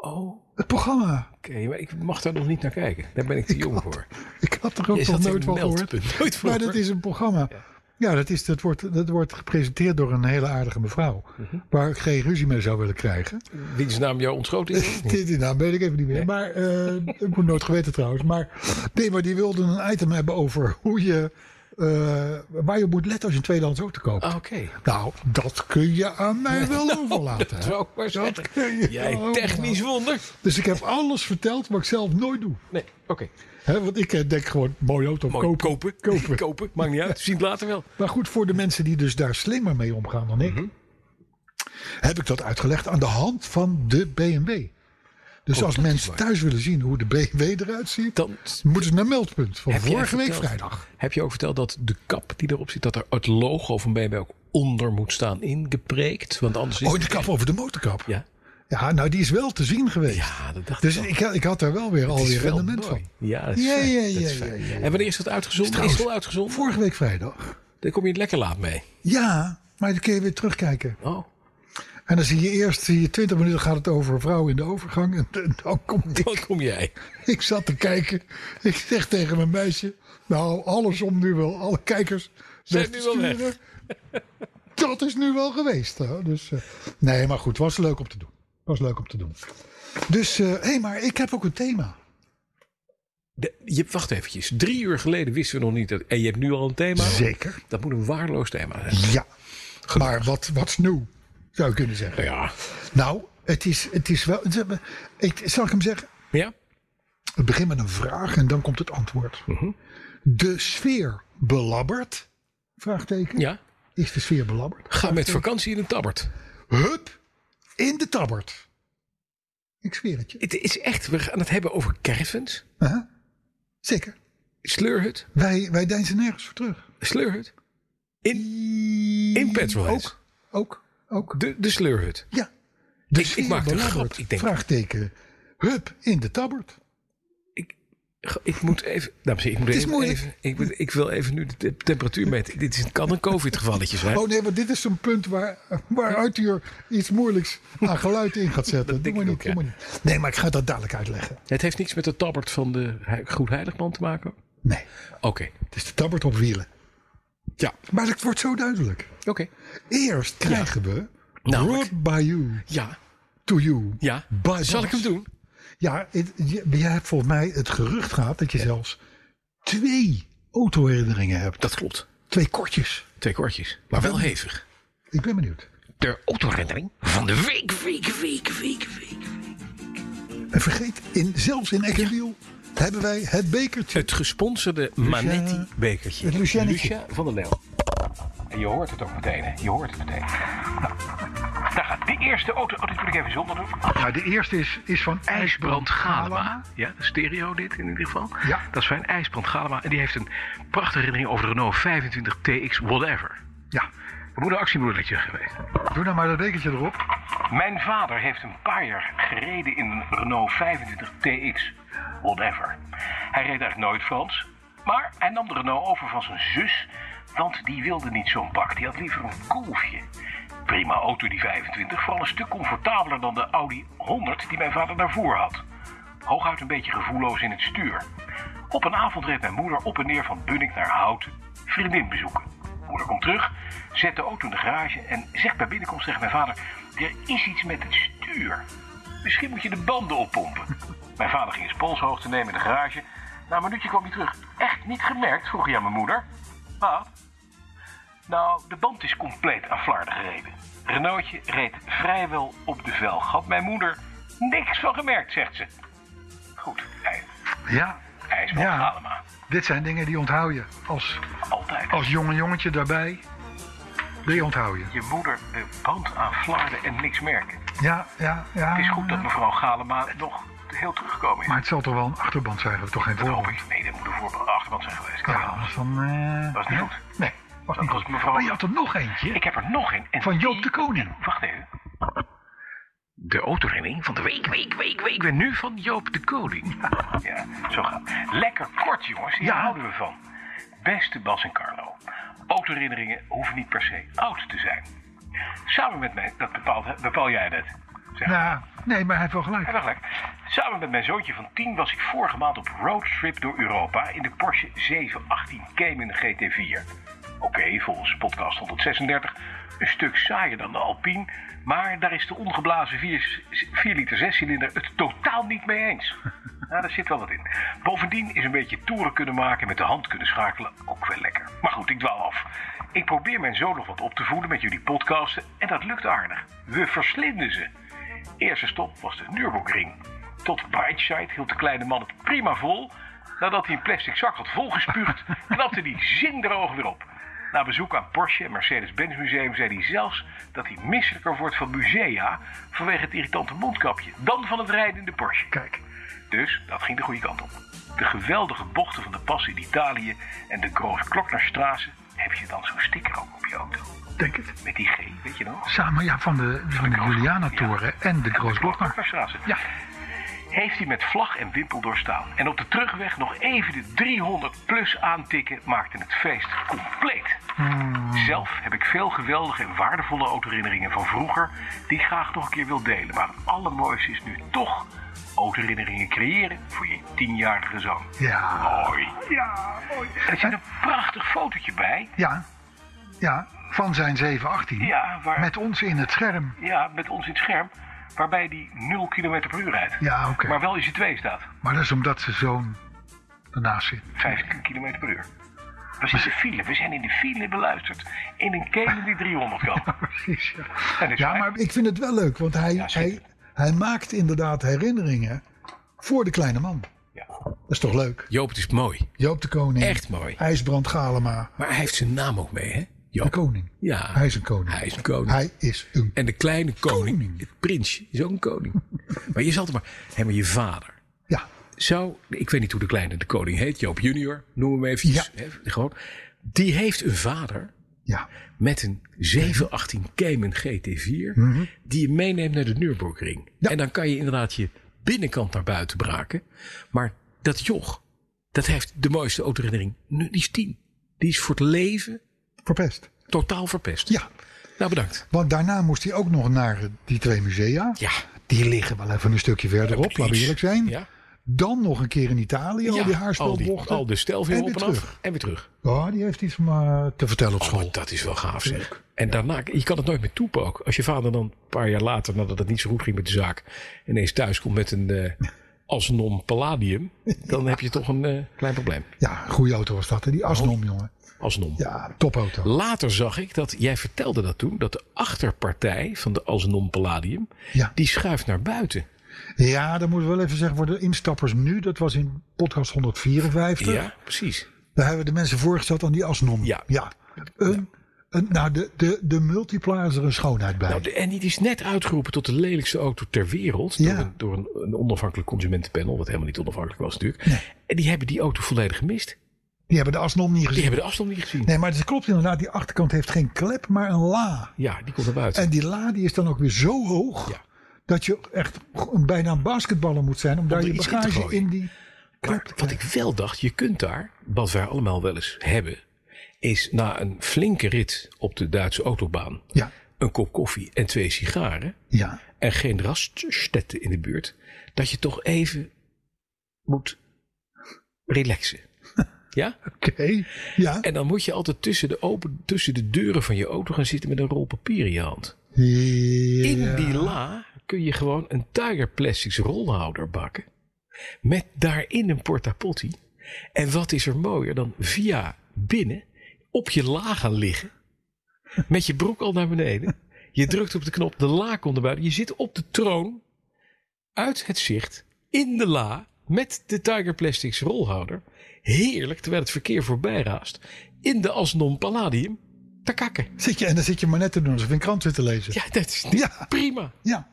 Speaker 3: Oh,
Speaker 2: Het programma.
Speaker 3: Oké, maar ik mag daar nog niet naar kijken. Daar ben
Speaker 2: (laughs)
Speaker 3: ik te jong voor.
Speaker 2: Ik had er ook nog
Speaker 3: Jij zat in
Speaker 2: nooit van
Speaker 3: meldpunt.
Speaker 2: gehoord.
Speaker 3: Nooit van
Speaker 2: maar dat
Speaker 3: gehoord.
Speaker 2: is een programma. Ja, dat, is, dat, wordt, dat wordt gepresenteerd door een hele aardige mevrouw.
Speaker 3: Mhm.
Speaker 2: Waar ik geen ruzie mee zou willen krijgen.
Speaker 3: Wiens naam jou
Speaker 2: (laughs)
Speaker 3: ontschoten is?
Speaker 2: Dit die naam weet nou, ik even niet meer. Maar eh, ik moet nooit geweten trouwens. Maar nee, maar die wilden een item hebben over hoe je. eh, waar je op moet letten als je een tweedehands auto koopt.
Speaker 3: Ah, Oké.
Speaker 2: Nou, dat kun je aan
Speaker 3: (laughs)
Speaker 2: mij wel overlaten. hè.
Speaker 3: Zou ik maar zeggen.
Speaker 2: kun je wel
Speaker 3: Jij technisch wonder.
Speaker 2: Dus ik heb alles verteld wat ik zelf nooit doe.
Speaker 3: Nee, oké.
Speaker 2: Hè, want ik eh, denk gewoon, mooie auto,
Speaker 3: Mooi.
Speaker 2: kopen.
Speaker 3: Kopen. (laughs)
Speaker 2: Kopen.
Speaker 3: Maakt niet uit. Zien het later wel.
Speaker 2: Maar goed, voor de mensen die dus daar slimmer mee omgaan dan ik...
Speaker 3: Mhm.
Speaker 2: heb ik dat uitgelegd aan de hand van de BMW. Dus
Speaker 3: Oh,
Speaker 2: als mensen thuis willen zien hoe de BMW eruit ziet...
Speaker 3: Dan
Speaker 2: moeten ze naar Meldpunt van
Speaker 3: Heb jij
Speaker 2: vorige week
Speaker 3: verteld-
Speaker 2: vrijdag.
Speaker 3: Heb je ook verteld dat de kap die erop zit, dat er het logo van BMW ook onder moet staan ingepreekt? Want anders is
Speaker 2: Oh, de kap over de motorkap.
Speaker 3: dus Ja,
Speaker 2: Ja, nou die is wel te zien geweest.
Speaker 3: ja dat dacht
Speaker 2: Dus
Speaker 3: ik al.
Speaker 2: ik, had- ik had daar wel weer
Speaker 3: Het is
Speaker 2: alweer
Speaker 3: wel
Speaker 2: rendement
Speaker 3: mooi.
Speaker 2: van.
Speaker 3: Ja, dat is
Speaker 2: Ja,
Speaker 3: fijn.
Speaker 2: ja,
Speaker 3: Dat is
Speaker 2: ja,
Speaker 3: fijn.
Speaker 2: ja, ja, ja.
Speaker 3: En wanneer is dat uitgezonden? Is
Speaker 2: Trouwens,
Speaker 3: het al uitgezonden?
Speaker 2: Vorige week vrijdag.
Speaker 3: Daar kom je lekker laat mee.
Speaker 2: Ja, maar dan kun je weer terugkijken.
Speaker 3: Oh.
Speaker 2: En dan zie je eerst, zie je 20 minuten gaat het over vrouwen in de overgang. En, dan- dan komt die.
Speaker 3: (laughs) Dan kom jij.
Speaker 2: (laughs) Ik zat te kijken. Ik zeg tegen mijn meisje. Nou, alles om nu wel, alle kijkers.
Speaker 3: Zijn
Speaker 2: weg
Speaker 3: nu
Speaker 2: te
Speaker 3: wel weg.
Speaker 2: sturen. (laughs) Dat is nu wel geweest. Hè? Dus, eh, nee, maar goed, was leuk om te doen. Was leuk om te doen. Dus, hé, hey, maar ik heb ook een thema.
Speaker 3: De- je, wacht eventjes. Drie uur geleden wisten we nog niet. Dat, en je hebt nu al een thema.
Speaker 2: Zeker.
Speaker 3: Dat moet een waardeloos thema zijn.
Speaker 2: Ja, maar wat, wat's nieuw, zou je kunnen zeggen.
Speaker 3: Ja.
Speaker 2: Nou, het is, het is wel... Ik, zal ik hem zeggen?
Speaker 3: Ja?
Speaker 2: Het begint met een vraag en dan komt het antwoord.
Speaker 3: Mhm.
Speaker 2: De sfeer belabberd? Vraagteken.
Speaker 3: Ja.
Speaker 2: Is de sfeer belabberd?
Speaker 3: Ga met vakantie in een tabbert.
Speaker 2: Hup, in de tabbert. Ik zweer het je.
Speaker 3: Het is echt, we gaan het hebben over caravans.
Speaker 2: Aha. Zeker.
Speaker 3: Sleurhut.
Speaker 2: Wij, wij deinzen nergens voor terug.
Speaker 3: Sleurhut. In, in Petrolheads.
Speaker 2: Ook, ook, ook.
Speaker 3: De, de sleurhut.
Speaker 2: Ja. De
Speaker 3: Ik- ik
Speaker 2: sfeer
Speaker 3: maakte een grap.
Speaker 2: belabberd?
Speaker 3: Ik denk-
Speaker 2: Vraagteken. Hup, in de tabbert.
Speaker 3: Ik, ik moet even... Dames en heren, ik moet
Speaker 2: is
Speaker 3: even,
Speaker 2: moeilijk.
Speaker 3: even- ik, moet- ik wil even nu de te- temperatuur meten. Dit is, kan een covid-gevalletje zijn.
Speaker 2: Oh nee, want dit is zo'n punt waar, waaruit u er iets moeilijks aan geluid in gaat
Speaker 3: (laughs)
Speaker 2: zetten. Doe
Speaker 3: denk
Speaker 2: maar
Speaker 3: ik
Speaker 2: niet,
Speaker 3: ook,
Speaker 2: doe maar niet. Nee, maar ik ga dat dadelijk uitleggen.
Speaker 3: Het heeft niks met de tabbert van de He- Goed Heiligman te maken.
Speaker 2: Nee,
Speaker 3: Oké.
Speaker 2: het is de tabbert op wielen.
Speaker 3: Ja.
Speaker 2: Maar het wordt zo duidelijk.
Speaker 3: Oké.
Speaker 2: Eerst krijgen we
Speaker 3: Namelijk-
Speaker 2: Road by You
Speaker 3: Ja.
Speaker 2: to You.
Speaker 3: Ja.
Speaker 2: By
Speaker 3: Zal ik
Speaker 2: Bas.
Speaker 3: hem doen?
Speaker 2: Ja, het- je- jij hebt volgens mij het gerucht gehad dat je zelfs twee autoherinneringen hebt.
Speaker 3: Dat klopt.
Speaker 2: Twee kortjes.
Speaker 3: Twee kwartjes. Maar wel hevig.
Speaker 2: Ik ben benieuwd.
Speaker 3: De autoherinnering van de week, week, week, week, week.
Speaker 2: En vergeet, in, zelfs in Eckenwiel hebben wij het bekertje.
Speaker 3: Het gesponsorde Manetti-bekertje.
Speaker 2: Het Luciannetje.
Speaker 3: Lucia van der Leeuw. En je hoort het ook meteen, hè? Je hoort het meteen. Nou, daar gaat de eerste auto. Oh, dit moet ik even zonder doen.
Speaker 2: Nou, de eerste is, is van
Speaker 3: IJsbrand Galema. Ja, de stereo dit in ieder geval.
Speaker 2: Ja.
Speaker 3: Dat is fijn. IJsbrand Galema. En die heeft een prachtige herinnering over de Renault 25 TX whatever.
Speaker 2: Ja,
Speaker 3: Dat moet een actiemoedertje geweest.
Speaker 2: doe nou maar dat bekertje erop.
Speaker 3: Mijn vader heeft een paar jaar gereden in een Renault 25 TX. Whatever. Hij reed eigenlijk nooit Frans. Maar hij nam de Renault over van zijn zus. Want die wilde niet zo'n pak. Die had liever een kolfje. Prima auto die 25. Vooral een stuk comfortabeler dan de Audi 100 die mijn vader daarvoor had. Hooguit een beetje gevoelloos in het stuur. Op een avond reed mijn moeder op en neer van Bunnik naar Hout. Vriendin bezoeken. Moeder komt terug, zet de auto in de garage en zegt bij binnenkomst tegen mijn vader... Er is iets met het stuur. Misschien moet je de banden oppompen. Mijn vader ging eens polshoogte nemen in de garage. Na een minuutje kwam hij terug. Echt niet gemerkt, vroeg hij aan mijn moeder. Wat? Nou, de band is compleet aan flarden gereden. Renaultje reed vrijwel op de velg. Had mijn moeder niks van gemerkt, zegt ze. Goed, hij,
Speaker 2: Ja,
Speaker 3: hij is wel
Speaker 2: Ja.
Speaker 3: allemaal.
Speaker 2: dit zijn dingen die onthoud je. Als,
Speaker 3: Altijd.
Speaker 2: als jonge jongetje daarbij, die onthoud je.
Speaker 3: Je moeder de band aan flarden en niks merken.
Speaker 2: Ja, ja, ja.
Speaker 3: Het is goed dat mevrouw Galema nog heel teruggekomen is.
Speaker 2: Maar het zal toch wel een achterband zijn, we toch geen
Speaker 3: Dat hoop
Speaker 2: voorband?
Speaker 3: ik. Nee, dat moet een voorbeeld achterband zijn geweest. Kan
Speaker 2: Ja,
Speaker 3: wel.
Speaker 2: anders dan... eh,
Speaker 3: Was niet
Speaker 2: hè?
Speaker 3: goed.
Speaker 2: Nee, was niet
Speaker 3: was
Speaker 2: goed.
Speaker 3: mevrouw-
Speaker 2: Maar je had er nog eentje.
Speaker 3: Ik heb er nog een. En
Speaker 2: Van Joop de
Speaker 3: die-
Speaker 2: Koning.
Speaker 3: Wacht even. De autorenning van de week, week, week, week. Ik ben nu van Joop de Koning. Ja, zo gaat Lekker kort, jongens. Hier
Speaker 2: Ja.
Speaker 3: houden we van. Beste Bas en Carlo. Autoherinneringen hoeven niet per se oud te zijn. Samen met mij, dat bepaalt, bepaal jij dat. Zeg.
Speaker 2: Ja, nee, maar hij heeft wel
Speaker 3: Ja,
Speaker 2: gelijk.
Speaker 3: wel gelijk. Samen met mijn zoontje van 10 was ik vorige maand op roadtrip door Europa in de Porsche 718 Cayman GT4. Oké, volgens podcast 136 een stuk saaier dan de Alpine, maar daar is de ongeblazen 4, 4 liter 6 cilinder het totaal niet mee eens. Ja, daar zit wel wat in. Bovendien is een beetje toeren kunnen maken met de hand kunnen schakelen ook wel lekker. Maar goed, ik dwaal af. Ik probeer mijn zoon nog wat op te voeden met jullie podcasten en dat lukt aardig. We verslinden ze. Eerste stop was de Nürburgring. Tot Brightside hield de kleine man het prima vol. Nadat hij een plastic zak had
Speaker 2: (laughs)
Speaker 3: volgespuugd, knapte hij zindroog weer op. Na bezoek aan Porsche en Mercedes-Benz Museum zei hij zelfs dat hij misselijker wordt van musea vanwege het irritante mondkapje dan van het rijden in de Porsche.
Speaker 2: Kijk.
Speaker 3: Dus dat ging de goede kant op. De geweldige bochten van de pas in Italië en de Groot-Kloknerstraße heb je dan zo'n sticker ook op je auto.
Speaker 2: Denk het.
Speaker 3: Met die G, weet je nog?
Speaker 2: Samen ja, van de, van de Juliana-toren en de Grootglockner.
Speaker 3: Kloknerstraße.
Speaker 2: Ja,
Speaker 3: heeft hij met vlag en wimpel doorstaan. En op de terugweg nog even de 300 plus aantikken maakte het feest compleet.
Speaker 2: Hmm.
Speaker 3: Zelf heb ik veel geweldige en waardevolle autoherinneringen van vroeger die ik graag nog een keer wil delen. Maar het allermooiste is nu toch autoherinneringen creëren voor je tienjarige zoon.
Speaker 2: Ja.
Speaker 3: Mooi.
Speaker 2: Ja, mooi.
Speaker 3: Er zit een prachtig fotootje bij.
Speaker 2: Ja, ja, van zijn 718.
Speaker 3: Ja, waar,
Speaker 2: Met ons in het scherm.
Speaker 3: ja, met ons in het scherm. Waarbij die 0 km per uur rijdt.
Speaker 2: Ja, oké.
Speaker 3: Maar wel in z'n twee staat.
Speaker 2: Maar dat is omdat zijn zoon ernaast zit. (laughs)
Speaker 3: 50 km per uur. We zitten in de file. We zijn in de file beluisterd. In een kelen die 300
Speaker 2: (laughs)
Speaker 3: kan.
Speaker 2: Precies, ja.
Speaker 3: Dat is
Speaker 2: Ja,
Speaker 3: waar.
Speaker 2: maar ik vind het wel leuk, want hij,
Speaker 3: Ja, zeker.
Speaker 2: hij, hij maakt inderdaad herinneringen voor de kleine man.
Speaker 3: Ja.
Speaker 2: Dat is toch leuk?
Speaker 5: Joop, het is mooi.
Speaker 2: Joop de Koning.
Speaker 5: Echt mooi.
Speaker 2: IJsbrand Galema,
Speaker 5: Maar hij heeft zijn naam ook mee, hè?
Speaker 2: de
Speaker 5: Joop.
Speaker 2: koning.
Speaker 5: Ja.
Speaker 2: Hij is een koning.
Speaker 5: Hij is een koning.
Speaker 2: Hij is een
Speaker 5: En de kleine koning,
Speaker 2: Koning.
Speaker 5: het prinsje, is ook een
Speaker 2: (laughs)
Speaker 5: koning. maar je zal het maar... Hé, maar je vader
Speaker 2: Ja,
Speaker 5: zou... Ik weet niet hoe de kleine de koning heet. Joop junior, noem hem eventjes.
Speaker 2: Ja.
Speaker 5: hè, gewoon. Die heeft een vader
Speaker 2: ja.
Speaker 5: met een 718 Cayman GT4... die je meeneemt naar de Nürburgring.
Speaker 2: Mhm. Ja.
Speaker 5: En dan kan je inderdaad je binnenkant naar buiten braken. Maar dat joch, dat heeft de mooiste autoherinnering. Nu, Die is 10. Die is voor het leven
Speaker 2: Verpest.
Speaker 5: totaal verpest.
Speaker 2: Ja,
Speaker 5: Nou, bedankt.
Speaker 2: want daarna moest hij ook nog naar eh, die twee musea.
Speaker 5: Ja.
Speaker 2: Die liggen wel even een stukje verderop, laten we eerlijk zijn.
Speaker 5: Ja.
Speaker 2: Dan nog een keer in Italië, al die
Speaker 5: Al,
Speaker 2: haarspelbochten.
Speaker 5: die, al de stel
Speaker 2: En
Speaker 5: weer
Speaker 2: weer
Speaker 5: op en af.
Speaker 2: terug.
Speaker 5: En weer terug.
Speaker 2: Ja, die heeft iets om eh, te vertellen op
Speaker 5: Oh,
Speaker 2: school.
Speaker 5: maar dat is wel gaaf zeg. En daarna, je kan het nooit meer toepen ook. Als je vader dan een paar jaar later, nadat het niet zo goed ging met de zaak, ineens thuis komt met een eh Asnom Palladium, dan heb je toch een eh, klein probleem.
Speaker 2: Ja, goede auto was dat, hè?
Speaker 5: Oh.
Speaker 2: die Asnom, jongen.
Speaker 5: Asnom.
Speaker 2: Ja, topauto.
Speaker 5: Later zag ik dat, jij vertelde dat toen, dat de achterpartij van de Asnom Palladium,
Speaker 2: Ja.
Speaker 5: die schuift naar buiten.
Speaker 2: Ja, dat moet ik wel even zeggen voor de instappers nu. Dat was in podcast 154.
Speaker 5: Ja, precies.
Speaker 2: Daar hebben we de mensen voorgesteld aan die Asnom.
Speaker 5: Ja.
Speaker 2: Een, een- nou, de, de, de multiplayer is er een schoonheid bij.
Speaker 5: Nou, de- en die is net uitgeroepen tot de lelijkste auto ter wereld.
Speaker 2: Ja.
Speaker 5: Door, een, door een, een onafhankelijk consumentenpanel, wat helemaal niet onafhankelijk was natuurlijk.
Speaker 2: Nee.
Speaker 5: En die hebben die auto volledig gemist.
Speaker 2: Die hebben de Asnom niet
Speaker 5: Die
Speaker 2: gezien.
Speaker 5: hebben de afstand niet gezien.
Speaker 2: Nee, maar het klopt inderdaad. Die achterkant heeft geen klep, maar een la.
Speaker 5: Ja, die komt naar buiten.
Speaker 2: En die la die is dan ook weer zo hoog.
Speaker 5: Ja.
Speaker 2: Dat je echt een- bijna een basketballer moet zijn. Om, daar
Speaker 5: er
Speaker 2: je
Speaker 5: iets in te
Speaker 2: bagage in,
Speaker 5: gooien.
Speaker 2: die klep
Speaker 5: Maar
Speaker 2: te
Speaker 5: wat
Speaker 2: krijgen.
Speaker 5: ik wel dacht, je kunt daar, wat wij allemaal wel eens hebben, is na een flinke rit op de Duitse autobaan,
Speaker 2: Ja,
Speaker 5: een kop koffie en twee sigaren
Speaker 2: ja.
Speaker 5: en geen raststetten in de buurt, dat je toch even moet
Speaker 2: (laughs)
Speaker 5: relaxen. Ja?
Speaker 2: Oké. Ja.
Speaker 5: En dan moet je altijd tussen de, open, tussen de deuren van je auto gaan zitten met een rol papier in je hand. In
Speaker 2: Ja.
Speaker 5: die la kun je gewoon een Tiger Plastics rolhouder bakken. Met daarin een portapotti. En wat is er mooier dan via binnen op je la gaan liggen. Met je broek al naar beneden. Je drukt op de knop, de la komt erbij. Je zit op de troon. Uit het zicht. In de la. Met de Tiger Plastics rolhouder. Heerlijk, terwijl het verkeer voorbij raast. In de Asnom Palladium. Te kakken.
Speaker 2: Zit je, en dan zit je maar net te doen alsof je een krant zit te lezen.
Speaker 5: Ja, dat is
Speaker 2: Ja.
Speaker 5: prima.
Speaker 2: ja.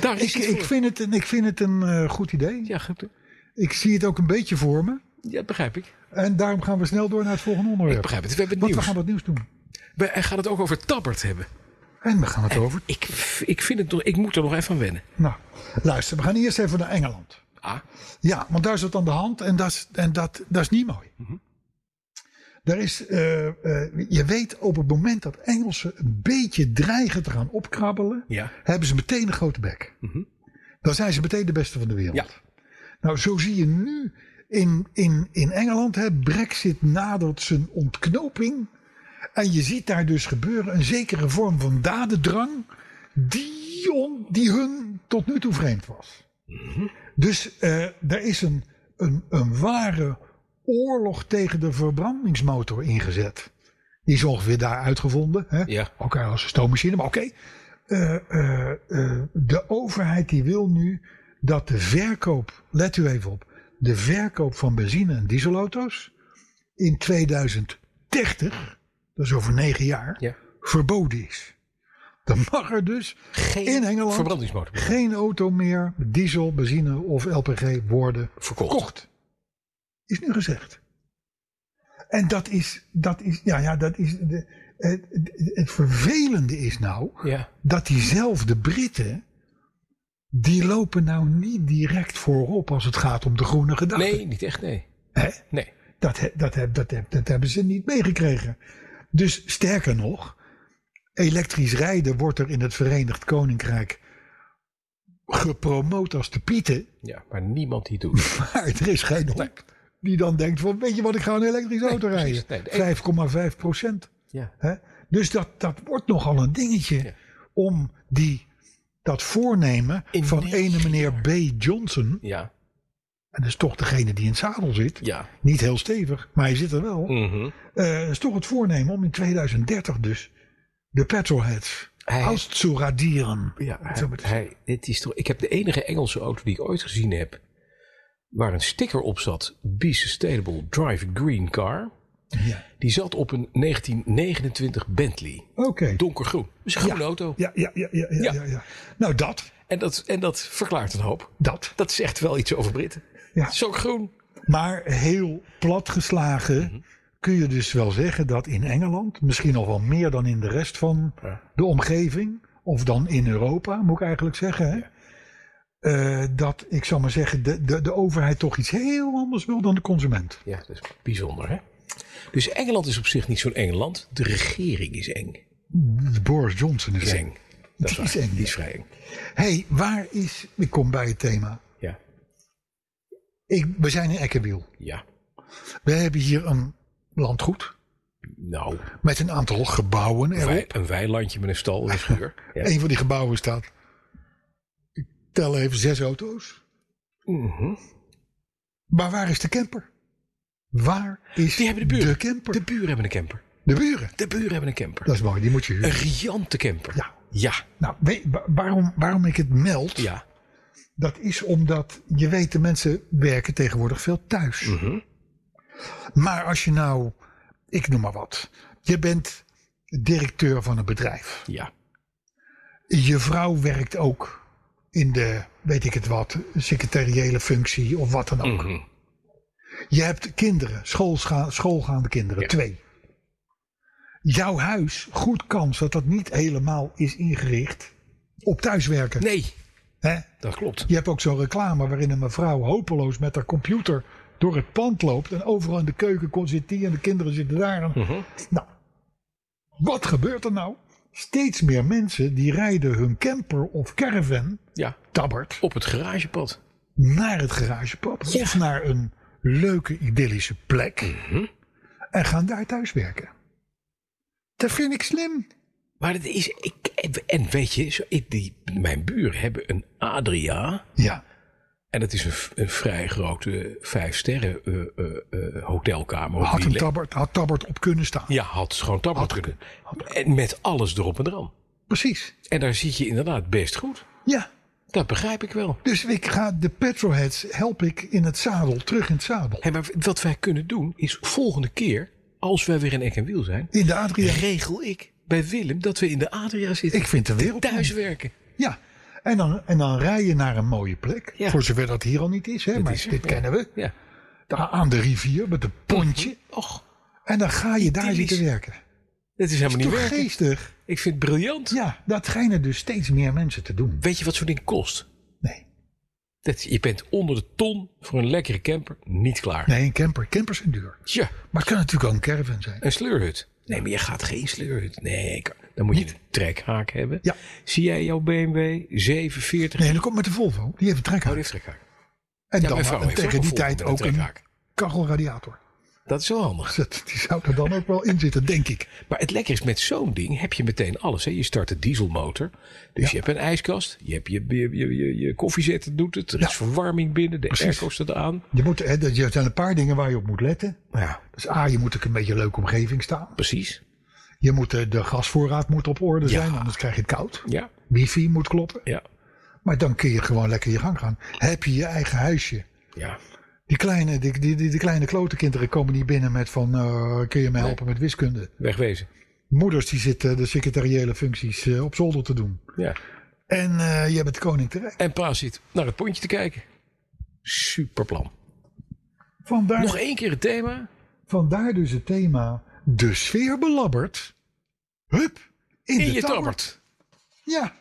Speaker 5: Daar is
Speaker 2: Ik,
Speaker 5: het
Speaker 2: ik,
Speaker 5: voor.
Speaker 2: vind het, een- ik vind het een eh, goed idee.
Speaker 5: Ja, goed.
Speaker 2: Ik zie het ook een beetje voor me.
Speaker 5: Ja, dat begrijp ik.
Speaker 2: En daarom gaan we snel door naar het volgende onderwerp.
Speaker 5: Ik begrijp het. We hebben het
Speaker 2: Want we
Speaker 5: nieuws.
Speaker 2: gaan wat nieuws doen.
Speaker 5: We hij gaat het ook over Tabbert hebben.
Speaker 2: En we gaan het over.
Speaker 5: Ik, ik, vind het, nog- ik moet er nog even aan wennen.
Speaker 2: Nou, luister, we gaan eerst even naar Engeland.
Speaker 5: Ah,
Speaker 2: Ja, want daar is het aan de hand en dat is, en dat, dat is niet mooi.
Speaker 5: Mhm.
Speaker 2: Daar is, eh, eh, je weet op het moment dat Engelsen een beetje dreigen te gaan opkrabbelen,
Speaker 5: Ja. Mhm.
Speaker 2: hebben ze meteen een grote bek. Dan zijn ze meteen de beste van de wereld.
Speaker 5: Ja.
Speaker 2: Nou, zo zie je nu in, in, in Engeland, hè, Brexit nadert zijn ontknoping. En je ziet daar dus gebeuren een zekere vorm van dadendrang die, on- die hun tot nu toe vreemd was. Dus eh, er is een, een, een ware oorlog tegen de verbrandingsmotor ingezet. Die is ongeveer daar uitgevonden. Hè?
Speaker 5: Ja.
Speaker 2: Ook als een stoommachine, maar oké. Eh, eh, eh, de overheid die wil nu dat de verkoop, let u even op, de verkoop van benzine- en dieselauto's in 2030, dat is over negen jaar,
Speaker 5: Ja.
Speaker 2: verboden is. Dan mag er dus
Speaker 5: geen
Speaker 2: in Engeland
Speaker 5: verbrandingsmotor meer
Speaker 2: geen auto meer met diesel, benzine of LPG worden
Speaker 5: verkocht.
Speaker 2: verkocht. Is nu gezegd. En dat is, dat is, ja, ja, dat is, de, het, het- het vervelende is nou
Speaker 5: Ja.
Speaker 2: dat diezelfde Britten, die lopen nou niet direct voorop als het gaat om de groene gedachte.
Speaker 5: Nee, niet echt, nee.
Speaker 2: Hè?
Speaker 5: Nee.
Speaker 2: Dat, he- dat, heb- dat, heb- dat hebben ze niet meegekregen. Dus sterker nog, elektrisch rijden wordt er in het Verenigd Koninkrijk gepromoot als de pieten. (laughs)
Speaker 5: Ja, maar niemand die het doet.
Speaker 2: Maar er is geen hond die dan denkt van, weet je wat, ik ga een elektrische auto
Speaker 5: precies.
Speaker 2: rijden.
Speaker 5: Nee, de e-
Speaker 2: 5,5 procent.
Speaker 5: ja.
Speaker 2: Hè? Dus dat, dat wordt nogal een dingetje
Speaker 5: Ja.
Speaker 2: om die, dat voornemen
Speaker 5: In
Speaker 2: van
Speaker 5: negen
Speaker 2: ene meneer B. Johnson.
Speaker 5: Ja.
Speaker 2: En dat is toch degene die in het zadel zit.
Speaker 5: Ja.
Speaker 2: Niet heel stevig, maar hij zit er wel.
Speaker 5: Mhm.
Speaker 2: Eh, is toch het voornemen om in 2030 dus de petrolheads
Speaker 5: Hij-
Speaker 2: auszuradieren.
Speaker 5: Ja,
Speaker 2: Om het zo maar te
Speaker 5: hij, hij- dit is toch, ik heb de enige Engelse auto die ik ooit gezien heb. waar een sticker op zat: Be Sustainable Drive a Green Car.
Speaker 2: zeggen. Ja.
Speaker 5: Die zat op een 1929 Bentley.
Speaker 2: Oké.
Speaker 5: Donkergroen. Dus een groene auto.
Speaker 2: Ja, ja, ja, ja, ja,
Speaker 5: Ja.
Speaker 2: ja, ja. Nou, dat.
Speaker 5: En, dat, en dat verklaart een hoop.
Speaker 2: Dat.
Speaker 5: Dat zegt wel iets over Britten.
Speaker 2: Ja.
Speaker 5: Het is ook groen.
Speaker 2: Maar heel platgeslagen kun je dus wel zeggen dat in Engeland, misschien nog wel meer dan in de rest van de omgeving, of dan in Europa, moet ik eigenlijk zeggen, hè, eh, dat ik zal maar zeggen, de, de, de overheid toch iets heel anders wil dan de consument.
Speaker 5: Ja, dat is bijzonder, hè? Dus Engeland is op zich niet zo'n Engeland. De regering is eng.
Speaker 2: Boris Johnson is
Speaker 5: Is
Speaker 2: eng.
Speaker 5: eng. Dat is,
Speaker 2: Die is
Speaker 5: waar.
Speaker 2: eng,
Speaker 5: Die
Speaker 2: ja.
Speaker 5: is vrij eng.
Speaker 2: hey, waar is. Ik kom bij het thema.
Speaker 5: Ja.
Speaker 2: Ik, we zijn in Ekkewiel.
Speaker 5: Ja.
Speaker 2: We hebben hier een landgoed
Speaker 5: Nou,
Speaker 2: met een aantal gebouwen erop.
Speaker 5: wij- een weilandje met een stal
Speaker 2: (laughs)
Speaker 5: en een schuur. Ja.
Speaker 2: Een van die gebouwen staat. Ik tel even zes auto's.
Speaker 5: Mhm.
Speaker 2: Maar waar is de camper? Waar is
Speaker 5: Die hebben de buren.
Speaker 2: camper?
Speaker 5: De
Speaker 2: De,
Speaker 5: buren hebben een camper.
Speaker 2: buren.
Speaker 5: De buren hebben een camper.
Speaker 2: Dat is mooi, die moet je
Speaker 5: Een
Speaker 2: huren.
Speaker 5: riante camper.
Speaker 2: Ja.
Speaker 5: Ja.
Speaker 2: Nou, weet- wa- waarom, waarom ik het meld,
Speaker 5: Ja.
Speaker 2: dat is omdat je weet, de mensen werken tegenwoordig veel thuis.
Speaker 5: Mhm.
Speaker 2: Maar als je nou, ik noem maar wat, je bent directeur van een bedrijf.
Speaker 5: Ja.
Speaker 2: Je vrouw werkt ook in de, weet ik het wat, secretariële functie of wat dan ook.
Speaker 5: Mhm.
Speaker 2: Je hebt kinderen, schoolscha- schoolgaande kinderen,
Speaker 5: Ja.
Speaker 2: twee. Jouw huis, goed kans dat dat niet helemaal is ingericht op thuiswerken.
Speaker 5: Nee,
Speaker 2: Hè?
Speaker 5: dat klopt.
Speaker 2: Je hebt ook zo'n reclame waarin een mevrouw hopeloos met haar computer door het pand loopt. En overal in de keuken kon- zit die en de kinderen zitten daar. En...
Speaker 5: Mhm.
Speaker 2: Nou, wat gebeurt er nou? Steeds meer mensen die rijden hun camper of caravan,
Speaker 5: Ja.
Speaker 2: tabbert,
Speaker 5: Op het garagepad.
Speaker 2: naar het garagepad. Of naar een leuke idyllische plek.
Speaker 5: Mhm.
Speaker 2: En gaan daar thuis werken. Dat vind ik slim.
Speaker 5: Maar het is. Ik, en weet je, zo, ik, die, mijn buren hebben een Adria.
Speaker 2: Ja.
Speaker 5: En dat is een, v- een vrij grote vijfsterren eh, eh, eh, hotelkamer.
Speaker 2: Had
Speaker 5: Die
Speaker 2: een
Speaker 5: le-
Speaker 2: tabbert, had tabbert op kunnen staan.
Speaker 5: Ja, had gewoon tabak kunnen. En met alles erop en eraan.
Speaker 2: Precies.
Speaker 5: En daar zit je inderdaad best goed.
Speaker 2: Ja.
Speaker 5: Dat begrijp ik wel.
Speaker 2: Dus ik ga de petrolheads help ik in het zadel, terug in het zadel.
Speaker 5: Hé, maar wat wij kunnen doen is volgende keer, als wij weer in Eck en Wiel zijn,
Speaker 2: In de Adria.
Speaker 5: regel ik bij Willem dat we in de Adria zitten.
Speaker 2: Ik vind de wereld.
Speaker 5: thuis werken.
Speaker 2: Ja. En dan, en dan rij je naar een mooie plek.
Speaker 5: Ja.
Speaker 2: Voor zover dat hier al niet is. Hè? Maar
Speaker 5: is er,
Speaker 2: dit
Speaker 5: ja.
Speaker 2: kennen we.
Speaker 5: Ja. Mhm.
Speaker 2: Daar aan de rivier met een pontje.
Speaker 5: Och,
Speaker 2: En dan ga je daar
Speaker 5: Idyllisch.
Speaker 2: zitten werken.
Speaker 5: dat is helemaal niet
Speaker 2: Toch
Speaker 5: werken.
Speaker 2: geestig.
Speaker 5: Ik vind het briljant.
Speaker 2: Ja, dat schijnen dus steeds meer mensen te doen.
Speaker 5: Weet je wat zo'n ding kost?
Speaker 2: Nee.
Speaker 5: Dat, je bent onder de ton voor een lekkere camper niet klaar.
Speaker 2: Nee, een camper. Campers zijn duur.
Speaker 5: Tja,
Speaker 2: Maar het kan natuurlijk ook een caravan zijn.
Speaker 5: een sleurhut. Nee, maar je gaat geen sleurhut. Nee, ik- dan moet je een trekhaak hebben.
Speaker 2: Ja.
Speaker 5: Zie jij jouw BMW 740?
Speaker 2: Nee, dat komt met de Volvo. Die heeft een
Speaker 5: Oh,
Speaker 2: trekhaak.
Speaker 5: die heeft trekhaak.
Speaker 2: en
Speaker 5: Ja,
Speaker 2: dan
Speaker 5: mijn vrouw
Speaker 2: en
Speaker 5: heeft
Speaker 2: tegen die
Speaker 5: een Volvo
Speaker 2: tijd
Speaker 5: met een
Speaker 2: ook een
Speaker 5: trekhaak.
Speaker 2: kachelradiator. (laughs)
Speaker 5: Dat is wel handig.
Speaker 2: Dat, die zou er dan ook wel in zitten, denk ik.
Speaker 5: Maar het lekker is met zo'n ding heb je meteen alles. Hè? Je start de dieselmotor. Dus je hebt een ijskast. Je hebt je, je, je, je, je koffiezetter doet het. Er
Speaker 2: Ja.
Speaker 5: is verwarming binnen. De airco staat aan.
Speaker 2: Je moet, hè, dat- er zijn een paar dingen waar je op moet letten.
Speaker 5: Ja.
Speaker 2: Dus A, je moet ook een beetje een leuke omgeving staan.
Speaker 5: Precies.
Speaker 2: Je moet, eh, de gasvoorraad moet op orde
Speaker 5: Ja.
Speaker 2: zijn, anders krijg je het koud.
Speaker 5: Ja.
Speaker 2: Wifi moet kloppen.
Speaker 5: Ja.
Speaker 2: Maar dan kun je gewoon lekker je gang gaan. Heb je je eigen huisje.
Speaker 5: Ja.
Speaker 2: Die kleine, die, die, die, die kleine klote kinderen komen niet binnen met van... eh, kun je me helpen met wiskunde?
Speaker 5: Wegwezen.
Speaker 2: moeders die zitten de secretariële functies eh, op zolder te doen.
Speaker 5: Ja.
Speaker 2: En eh, je bent de koning terecht.
Speaker 5: En pa zit naar het pontje te kijken. Super plan.
Speaker 2: Vandaar,
Speaker 5: Nog e- één keer het thema.
Speaker 2: vandaar dus het thema de sfeer belabbert. Hup, in,
Speaker 5: In
Speaker 2: de
Speaker 5: je
Speaker 2: tabbert.
Speaker 5: tabbert.
Speaker 2: Ja,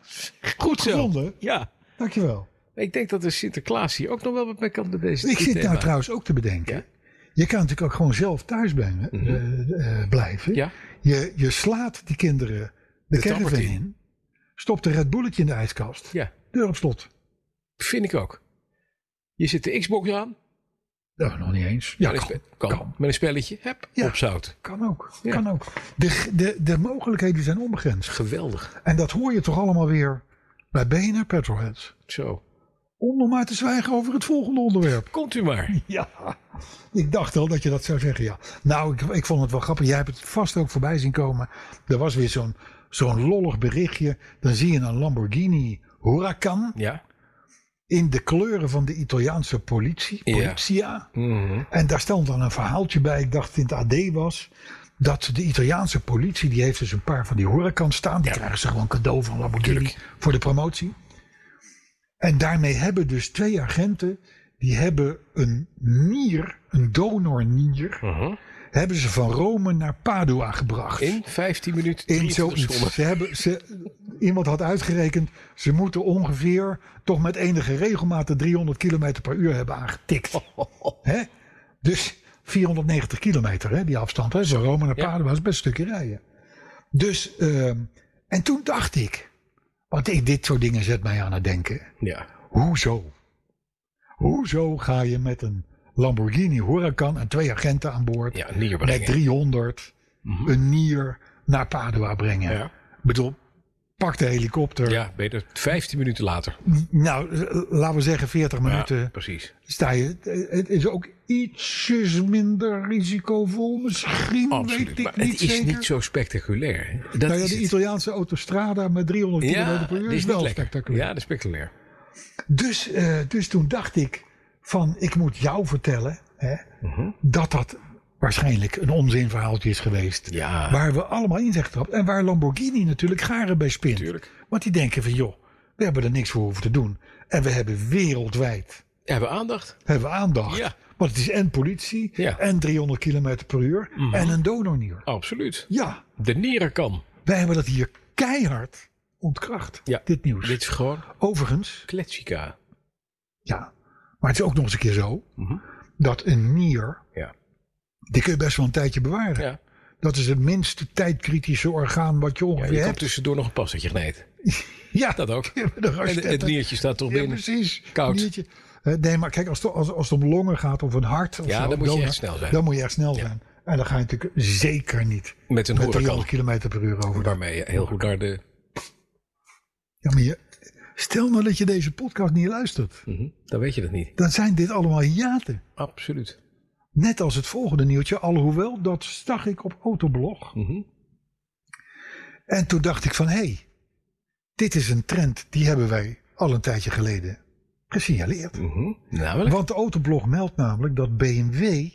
Speaker 5: Goed zo.
Speaker 2: gevonden.
Speaker 5: Ja.
Speaker 2: Dankjewel.
Speaker 5: Ik denk dat de Sinterklaas hier ook nog wel wat mee kan met deze
Speaker 2: Ik
Speaker 5: dit
Speaker 2: zit
Speaker 5: thema.
Speaker 2: nou trouwens ook te bedenken.
Speaker 5: Ja. Mhm.
Speaker 2: Je kan natuurlijk ook gewoon zelf thuis brengen, eh, eh, blijven.
Speaker 5: Ja.
Speaker 2: Je, je slaat die kinderen de,
Speaker 5: tabbert
Speaker 2: caravan
Speaker 5: in.
Speaker 2: in. Stopt een Red Bulletje in de ijskast.
Speaker 5: Ja.
Speaker 2: Deur op slot.
Speaker 5: Vind ik ook. Je zet de Xbox aan.
Speaker 2: Nou, nog niet eens. Ja,
Speaker 5: met een
Speaker 2: kan,
Speaker 5: spe- kan.
Speaker 2: kan.
Speaker 5: Met een spelletje. Hep,
Speaker 2: Ja.
Speaker 5: op zout.
Speaker 2: Kan ook.
Speaker 5: Ja.
Speaker 2: Kan ook. De, de, de mogelijkheden zijn onbegrensd.
Speaker 5: Geweldig.
Speaker 2: En dat hoor je toch allemaal weer bij BNR Petrolheads.
Speaker 5: Zo.
Speaker 2: Om nog maar te zwijgen over het volgende onderwerp.
Speaker 5: Komt u maar. (laughs)
Speaker 2: Ja, ik dacht al dat je dat zou zeggen, ja. Nou, ik, ik vond het wel grappig. Jij hebt het vast ook voorbij zien komen. Er was weer zo'n zo'n lollig berichtje. Dan zie je een Lamborghini Huracan
Speaker 5: Ja.
Speaker 2: in de kleuren van de Italiaanse politie.
Speaker 5: Ja.
Speaker 2: Polizia.
Speaker 5: Mhm.
Speaker 2: En daar stond dan een verhaaltje bij. Ik dacht dat het in het AD was. Dat de Italiaanse politie, die heeft dus een paar van die Huracans staan. Die krijgen ze gewoon cadeau van Lamborghini voor de promotie. En daarmee hebben dus twee agenten, die hebben een nier, een donornier,
Speaker 5: Mhm.
Speaker 2: hebben ze van Rome naar Padua gebracht.
Speaker 5: In 15 minuten.
Speaker 2: In
Speaker 5: 23 seconden.
Speaker 2: zoiets. Ze hebben, ze, iemand had uitgerekend, ze moeten ongeveer toch met enige regelmaat de 300 km per uur hebben aangetikt. Hè? Dus 490 kilometer, hè, die afstand. Hè? Zo Rome naar
Speaker 5: Ja.
Speaker 2: Padua is best een stukje rijden. Dus, ehm, en toen dacht ik, want ik, dit soort dingen zet mij aan het denken.
Speaker 5: Ja.
Speaker 2: Hoezo? Hoezo ga je met een Lamborghini Huracan en twee agenten aan boord
Speaker 5: Ja, nier
Speaker 2: met
Speaker 5: brengen. Mhm.
Speaker 2: 300 een nier naar Padua brengen?
Speaker 5: Ja.
Speaker 2: Ik bedoel, pak de helikopter.
Speaker 5: Ja, beter. 15 minuten later.
Speaker 2: Nou, eh, laten we zeggen 40
Speaker 5: Ja,
Speaker 2: minuten
Speaker 5: precies.
Speaker 2: sta je. Het is ook ietsjes minder risicovol misschien,
Speaker 5: Absoluut.
Speaker 2: weet ik
Speaker 5: Maar
Speaker 2: niet
Speaker 5: het is
Speaker 2: zeker.
Speaker 5: niet zo spectaculair. hè. Dat
Speaker 2: nou ja,
Speaker 5: is
Speaker 2: de
Speaker 5: het.
Speaker 2: Italiaanse autostrada met 300 km per
Speaker 5: dit
Speaker 2: uur is
Speaker 5: niet
Speaker 2: wel
Speaker 5: lekker.
Speaker 2: spectaculair.
Speaker 5: Ja, dat is spectaculair.
Speaker 2: Dus, eh, dus toen dacht ik van ik moet jou vertellen hè,
Speaker 5: Mhm.
Speaker 2: dat dat waarschijnlijk een onzinverhaaltje is geweest.
Speaker 5: Ja.
Speaker 2: Waar we allemaal in zijn getrapt. En waar Lamborghini natuurlijk garen bij spint.
Speaker 5: Tuurlijk.
Speaker 2: Want die denken van joh, we hebben er niks voor hoeven te doen. En we hebben wereldwijd
Speaker 5: Hebben we aandacht?
Speaker 2: hebben we aandacht.
Speaker 5: Ja.
Speaker 2: Want het is en politie
Speaker 5: Ja. Mhm.
Speaker 2: en 300 km per uur en een donornier.
Speaker 5: Absoluut.
Speaker 2: Ja,
Speaker 5: De nierenkan.
Speaker 2: wij hebben dat hier keihard ontkracht,
Speaker 5: Ja.
Speaker 2: dit nieuws.
Speaker 5: Dit is gewoon
Speaker 2: Overigens,
Speaker 5: kletsika.
Speaker 2: Ja, maar het is ook nog eens een keer zo dat een nier,
Speaker 5: Mhm. Ja.
Speaker 2: die kun je best wel een tijdje bewaren.
Speaker 5: ja.
Speaker 2: Dat is het minste tijdkritische orgaan wat je
Speaker 5: Ja,
Speaker 2: ongeveer
Speaker 5: je kan
Speaker 2: hebt.
Speaker 5: tussendoor nog een passetje gneed.
Speaker 2: ja,
Speaker 5: Dat
Speaker 2: (laughs)
Speaker 5: ook.
Speaker 2: Ja, de
Speaker 5: En
Speaker 2: raspetten.
Speaker 5: het niertje staat toch
Speaker 2: Ja,
Speaker 5: binnen.
Speaker 2: precies.
Speaker 5: Koud.
Speaker 2: Niertje. Eh, Nee, maar kijk, als het, als, als het om longen gaat of een hart. Of
Speaker 5: Ja,
Speaker 2: zo,
Speaker 5: dan moet je
Speaker 2: longen,
Speaker 5: echt snel zijn.
Speaker 2: Dan moet je echt snel zijn. En dan ga je natuurlijk zeker niet
Speaker 5: Met een
Speaker 2: met
Speaker 5: horekan.
Speaker 2: 300 km per uur over.
Speaker 5: Waarmee je heel goed naar de...
Speaker 2: Ja, maar je, stel nou dat je deze podcast niet luistert.
Speaker 5: Mhm. Dan weet je dat niet.
Speaker 2: Dan zijn dit allemaal hiaten.
Speaker 5: Absoluut.
Speaker 2: Net als het volgende nieuwtje, alhoewel dat zag ik op Autoblog.
Speaker 5: Mhm.
Speaker 2: En toen dacht ik van, hé, hey, dit is een trend die hebben wij al een tijdje geleden gesignaleerd.
Speaker 5: Mhm. Namelijk?
Speaker 2: Want de Autoblog meldt namelijk dat BMW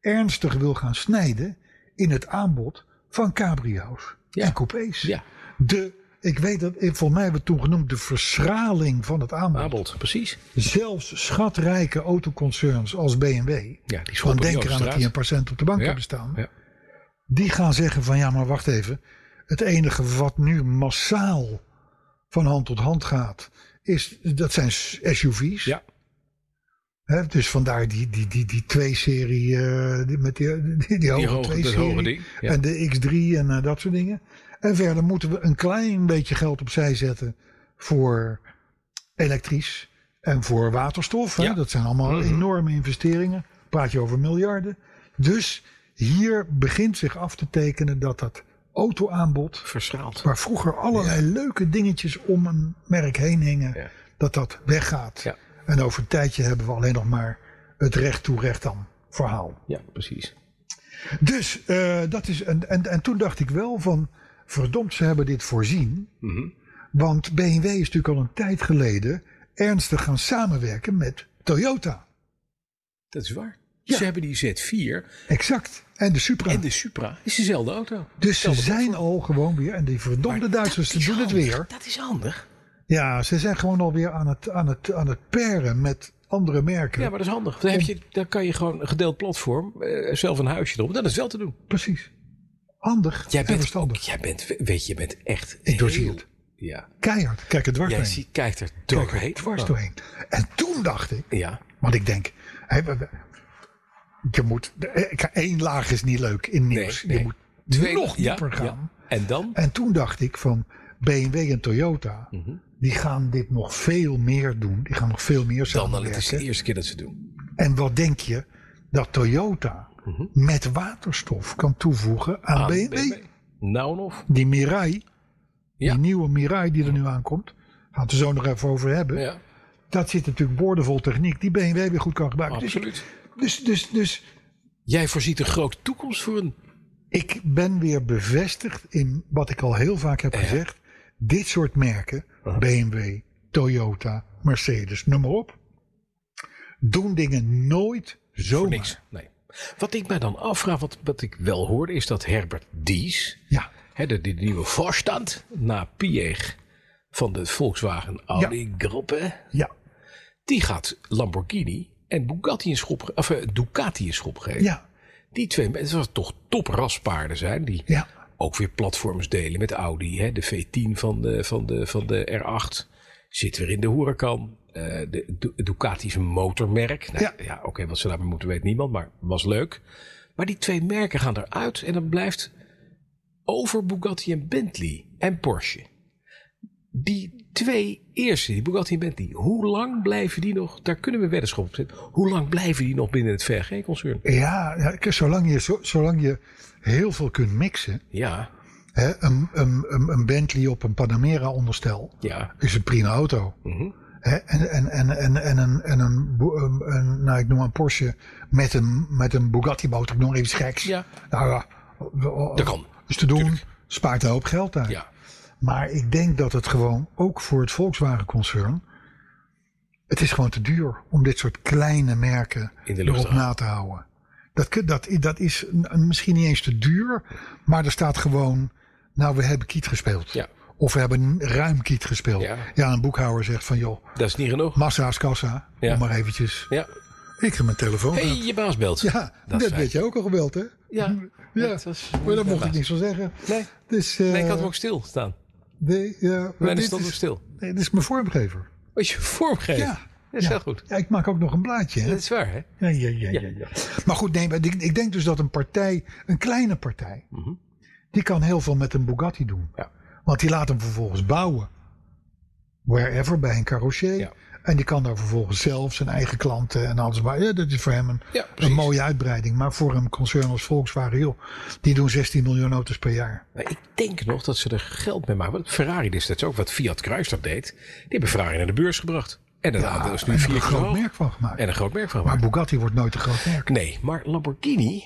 Speaker 2: ernstig wil gaan snijden in het aanbod van cabrio's
Speaker 5: Ja.
Speaker 2: en coupés.
Speaker 5: Ja.
Speaker 2: De, ik weet dat, volgens mij hebben we het toen genoemd, de verschraling van het aanbod.
Speaker 5: Abelt, precies.
Speaker 2: Zelfs schatrijke autoconcerns als BMW,
Speaker 5: Ja, die schoppen
Speaker 2: want
Speaker 5: niet
Speaker 2: denk
Speaker 5: op
Speaker 2: eraan dat
Speaker 5: straat.
Speaker 2: die een patiënt op de bank
Speaker 5: Ja.
Speaker 2: hebben staan
Speaker 5: Ja.
Speaker 2: die gaan zeggen van ja, maar wacht even. Het enige wat nu massaal van hand tot hand gaat, is, dat zijn s- SUV's.
Speaker 5: Ja.
Speaker 2: Hè, dus vandaar die, die, die, die 2-serie, eh, die, met die, die, die hoge
Speaker 5: hoge- dat
Speaker 2: 2-serie.
Speaker 5: hoge ding, ja.
Speaker 2: En de X3 en eh, dat soort dingen. En verder moeten we een klein beetje geld opzij zetten voor elektrisch en voor waterstof. Hè?
Speaker 5: Ja. Mhm.
Speaker 2: Dat zijn allemaal enorme investeringen. Praat je over miljarden. Dus hier begint zich af te tekenen dat dat autoaanbod,
Speaker 5: Verschraald.
Speaker 2: waar vroeger allerlei leuke dingetjes om een merk heen hingen,
Speaker 5: Ja.
Speaker 2: dat dat weggaat.
Speaker 5: Ja.
Speaker 2: En over een tijdje hebben we alleen nog maar het recht toe recht aan verhaal.
Speaker 5: Ja, precies.
Speaker 2: Dus eh, dat is. En, en, en toen dacht ik wel van. Verdomd, ze hebben dit voorzien.
Speaker 5: Mhm.
Speaker 2: Want BMW is natuurlijk al een tijd geleden ernstig gaan samenwerken met Toyota.
Speaker 5: Dat is waar.
Speaker 2: Ja.
Speaker 5: Ze hebben die Z4
Speaker 2: Exact. En de Supra.
Speaker 5: en de Supra. is dezelfde auto.
Speaker 2: dus ze
Speaker 5: Hetzelfde
Speaker 2: zijn al gewoon weer. En die verdomde Duitsers die
Speaker 5: Dat is
Speaker 2: doen het
Speaker 5: handig.
Speaker 2: weer.
Speaker 5: Dat is handig.
Speaker 2: Ja, ze zijn gewoon alweer aan het, aan het, aan het peren met andere merken.
Speaker 5: Ja, maar dat is handig. Dan, heb je, dan kan je gewoon een gedeeld platform, eh, zelf een huisje erop. Dat is wel te doen.
Speaker 2: Precies. Handig.
Speaker 5: Jij
Speaker 2: en
Speaker 5: bent, ook,
Speaker 2: verstandig.
Speaker 5: jij bent, weet je, je bent echt
Speaker 2: Ik doorzie
Speaker 5: heel-
Speaker 2: het.
Speaker 5: Ja.
Speaker 2: Keihard. Kijk er dwars
Speaker 5: Jij
Speaker 2: doorheen.
Speaker 5: ziet, kijkt er
Speaker 2: Kijk er
Speaker 5: doorheen. Oh.
Speaker 2: dwars doorheen. En toen dacht ik.
Speaker 5: Ja.
Speaker 2: Want ik denk, hè, we- we- je moet, eh, één laag is niet leuk in nieuws.
Speaker 5: nee.
Speaker 2: Je moet nog
Speaker 5: ja,
Speaker 2: dieper gaan.
Speaker 5: ja. En dan?
Speaker 2: En toen dacht ik van, BMW en Toyota,
Speaker 5: Mhm.
Speaker 2: die gaan dit nog veel meer doen. Die gaan nog veel meer
Speaker 5: Dan al, het is de
Speaker 2: samenwerken.
Speaker 5: eerste keer dat ze het doen.
Speaker 2: En wat denk je dat Toyota met waterstof kan toevoegen aan,
Speaker 5: Mhm. Aan
Speaker 2: BMW?
Speaker 5: BMW. Nou nog.
Speaker 2: Die Mirai,
Speaker 5: Ja.
Speaker 2: die nieuwe Mirai die er nu aankomt, gaan we het er zo nog even over hebben.
Speaker 5: Ja,
Speaker 2: Dat zit natuurlijk boordevol techniek die BMW weer goed kan gebruiken. Dus ik-
Speaker 5: absoluut.
Speaker 2: Dus, dus, dus
Speaker 5: Jij voorziet een grote toekomst voor een...
Speaker 2: ik ben weer bevestigd in wat ik al heel vaak heb gezegd. Dit soort merken,
Speaker 5: Uh-huh.
Speaker 2: BMW, Toyota, Mercedes, noem maar op, doen dingen nooit
Speaker 5: Voor
Speaker 2: zomaar.
Speaker 5: niks. Nee. Wat ik mij dan afvraag, wat, wat ik wel hoorde, is dat Herbert Dies,
Speaker 2: Ja,
Speaker 5: hè, de, die nieuwe voorstand na Piëch van de Volkswagen Audi Groepen,
Speaker 2: ja,
Speaker 5: die gaat Lamborghini en Bugatti in schop, ge- of, eh, Ducati in schop geven.
Speaker 2: ja,
Speaker 5: Die twee mensen, dat toch topraspaarden zijn, die
Speaker 2: ja,
Speaker 5: ook weer platforms delen met Audi. Hè? De V10 van de, van, de, van de R8 zit weer in de hoerenkan. Eh, de Du- Ducati is een motormerk. Nou, ja,
Speaker 2: Ja.
Speaker 5: oké, wat ze daarmee moeten weet niemand, maar was leuk. Maar die twee merken gaan eruit en dan blijft over Bugatti en Bentley en Porsche. Die twee eerste, die Bugatti en Bentley, hoe lang blijven die nog, daar kunnen we weddenschap op zetten, hoe lang blijven die nog binnen het VRG-concern?
Speaker 2: ja. ja, kijk, zolang, je, zo- zolang je heel veel kunt mixen,
Speaker 5: Ja,
Speaker 2: hè, een, een, een, een Bentley op een Panamera onderstel,
Speaker 5: ja,
Speaker 2: is een prima auto.
Speaker 5: Mhm.
Speaker 2: Hè, en, en, en, en, en, een, en een, bo- een- een- nou, ik noem maar een Porsche met een, met een Bugatti motor, ik noem maar iets geks.
Speaker 5: Ja.
Speaker 2: Nou ja,
Speaker 5: dat kan.
Speaker 2: is te doen, spaart een hoop geld uit.
Speaker 5: Ja,
Speaker 2: Maar ik denk dat het gewoon, ook voor het Volkswagen-concern, het is gewoon te duur om dit soort kleine merken
Speaker 5: In de lucht
Speaker 2: erop
Speaker 5: te
Speaker 2: na te houden. Dat, kun- dat, dat is n- misschien niet eens te duur, maar er staat gewoon, nou we hebben kiet gespeeld.
Speaker 5: Ja.
Speaker 2: Of we hebben ruim kiet gespeeld.
Speaker 5: Ja.
Speaker 2: een boekhouder zegt van joh,
Speaker 5: dat is niet genoeg.
Speaker 2: massa's kassa,
Speaker 5: Ja.
Speaker 2: om maar eventjes.
Speaker 5: Ja,
Speaker 2: Ik heb mijn telefoon.
Speaker 5: Hey,
Speaker 2: gehad.
Speaker 5: je baas belt.
Speaker 2: Ja,
Speaker 5: dat
Speaker 2: dat,
Speaker 5: is fijn.
Speaker 2: werd je ook al gebeld hè?
Speaker 5: Ja,
Speaker 2: Ja,
Speaker 5: dat was-
Speaker 2: maar daar mocht
Speaker 5: baas.
Speaker 2: ik niks van zeggen.
Speaker 5: Nee.
Speaker 2: Dus,
Speaker 5: Nee, ik had hem ook stil staan.
Speaker 2: Nee, ja,
Speaker 5: Mijn
Speaker 2: dit
Speaker 5: stond ook
Speaker 2: is,
Speaker 5: stil.
Speaker 2: nee, dit is mijn vormgever.
Speaker 5: Als je vormgeeft.
Speaker 2: Ja.
Speaker 5: Dat is heel goed.
Speaker 2: Ja, ik maak ook nog een blaadje. Hè?
Speaker 5: Dat is waar, hè?
Speaker 2: Ja, ja, ja, ja, ja. Maar goed, nee, maar ik, ik denk dus dat een partij, een kleine partij, die kan heel veel met een Bugatti doen.
Speaker 5: Mhm. Ja.
Speaker 2: Want die laat hem vervolgens bouwen. Wherever, bij een carrossier.
Speaker 5: Ja.
Speaker 2: En die kan daar vervolgens zelf zijn eigen klanten en alles. Maar ja, dat is voor hem een,
Speaker 5: Ja, precies.
Speaker 2: een mooie uitbreiding. Maar voor een concern als Volkswagen, joh, die doen 16 miljoen auto's per jaar.
Speaker 5: Maar ik denk nog dat ze er geld mee maken. Want Ferrari destijds ook, wat Fiat Chrysler deed. Die hebben Ferrari naar de beurs gebracht. En dat aandeel is
Speaker 2: en
Speaker 5: nu
Speaker 2: er
Speaker 5: vier
Speaker 2: een
Speaker 5: keer
Speaker 2: groot
Speaker 5: hoog.
Speaker 2: merk van gemaakt.
Speaker 5: En een groot merk van
Speaker 2: Maar
Speaker 5: gemaakt.
Speaker 2: Bugatti wordt nooit een groot merk.
Speaker 5: Nee, maar Lamborghini,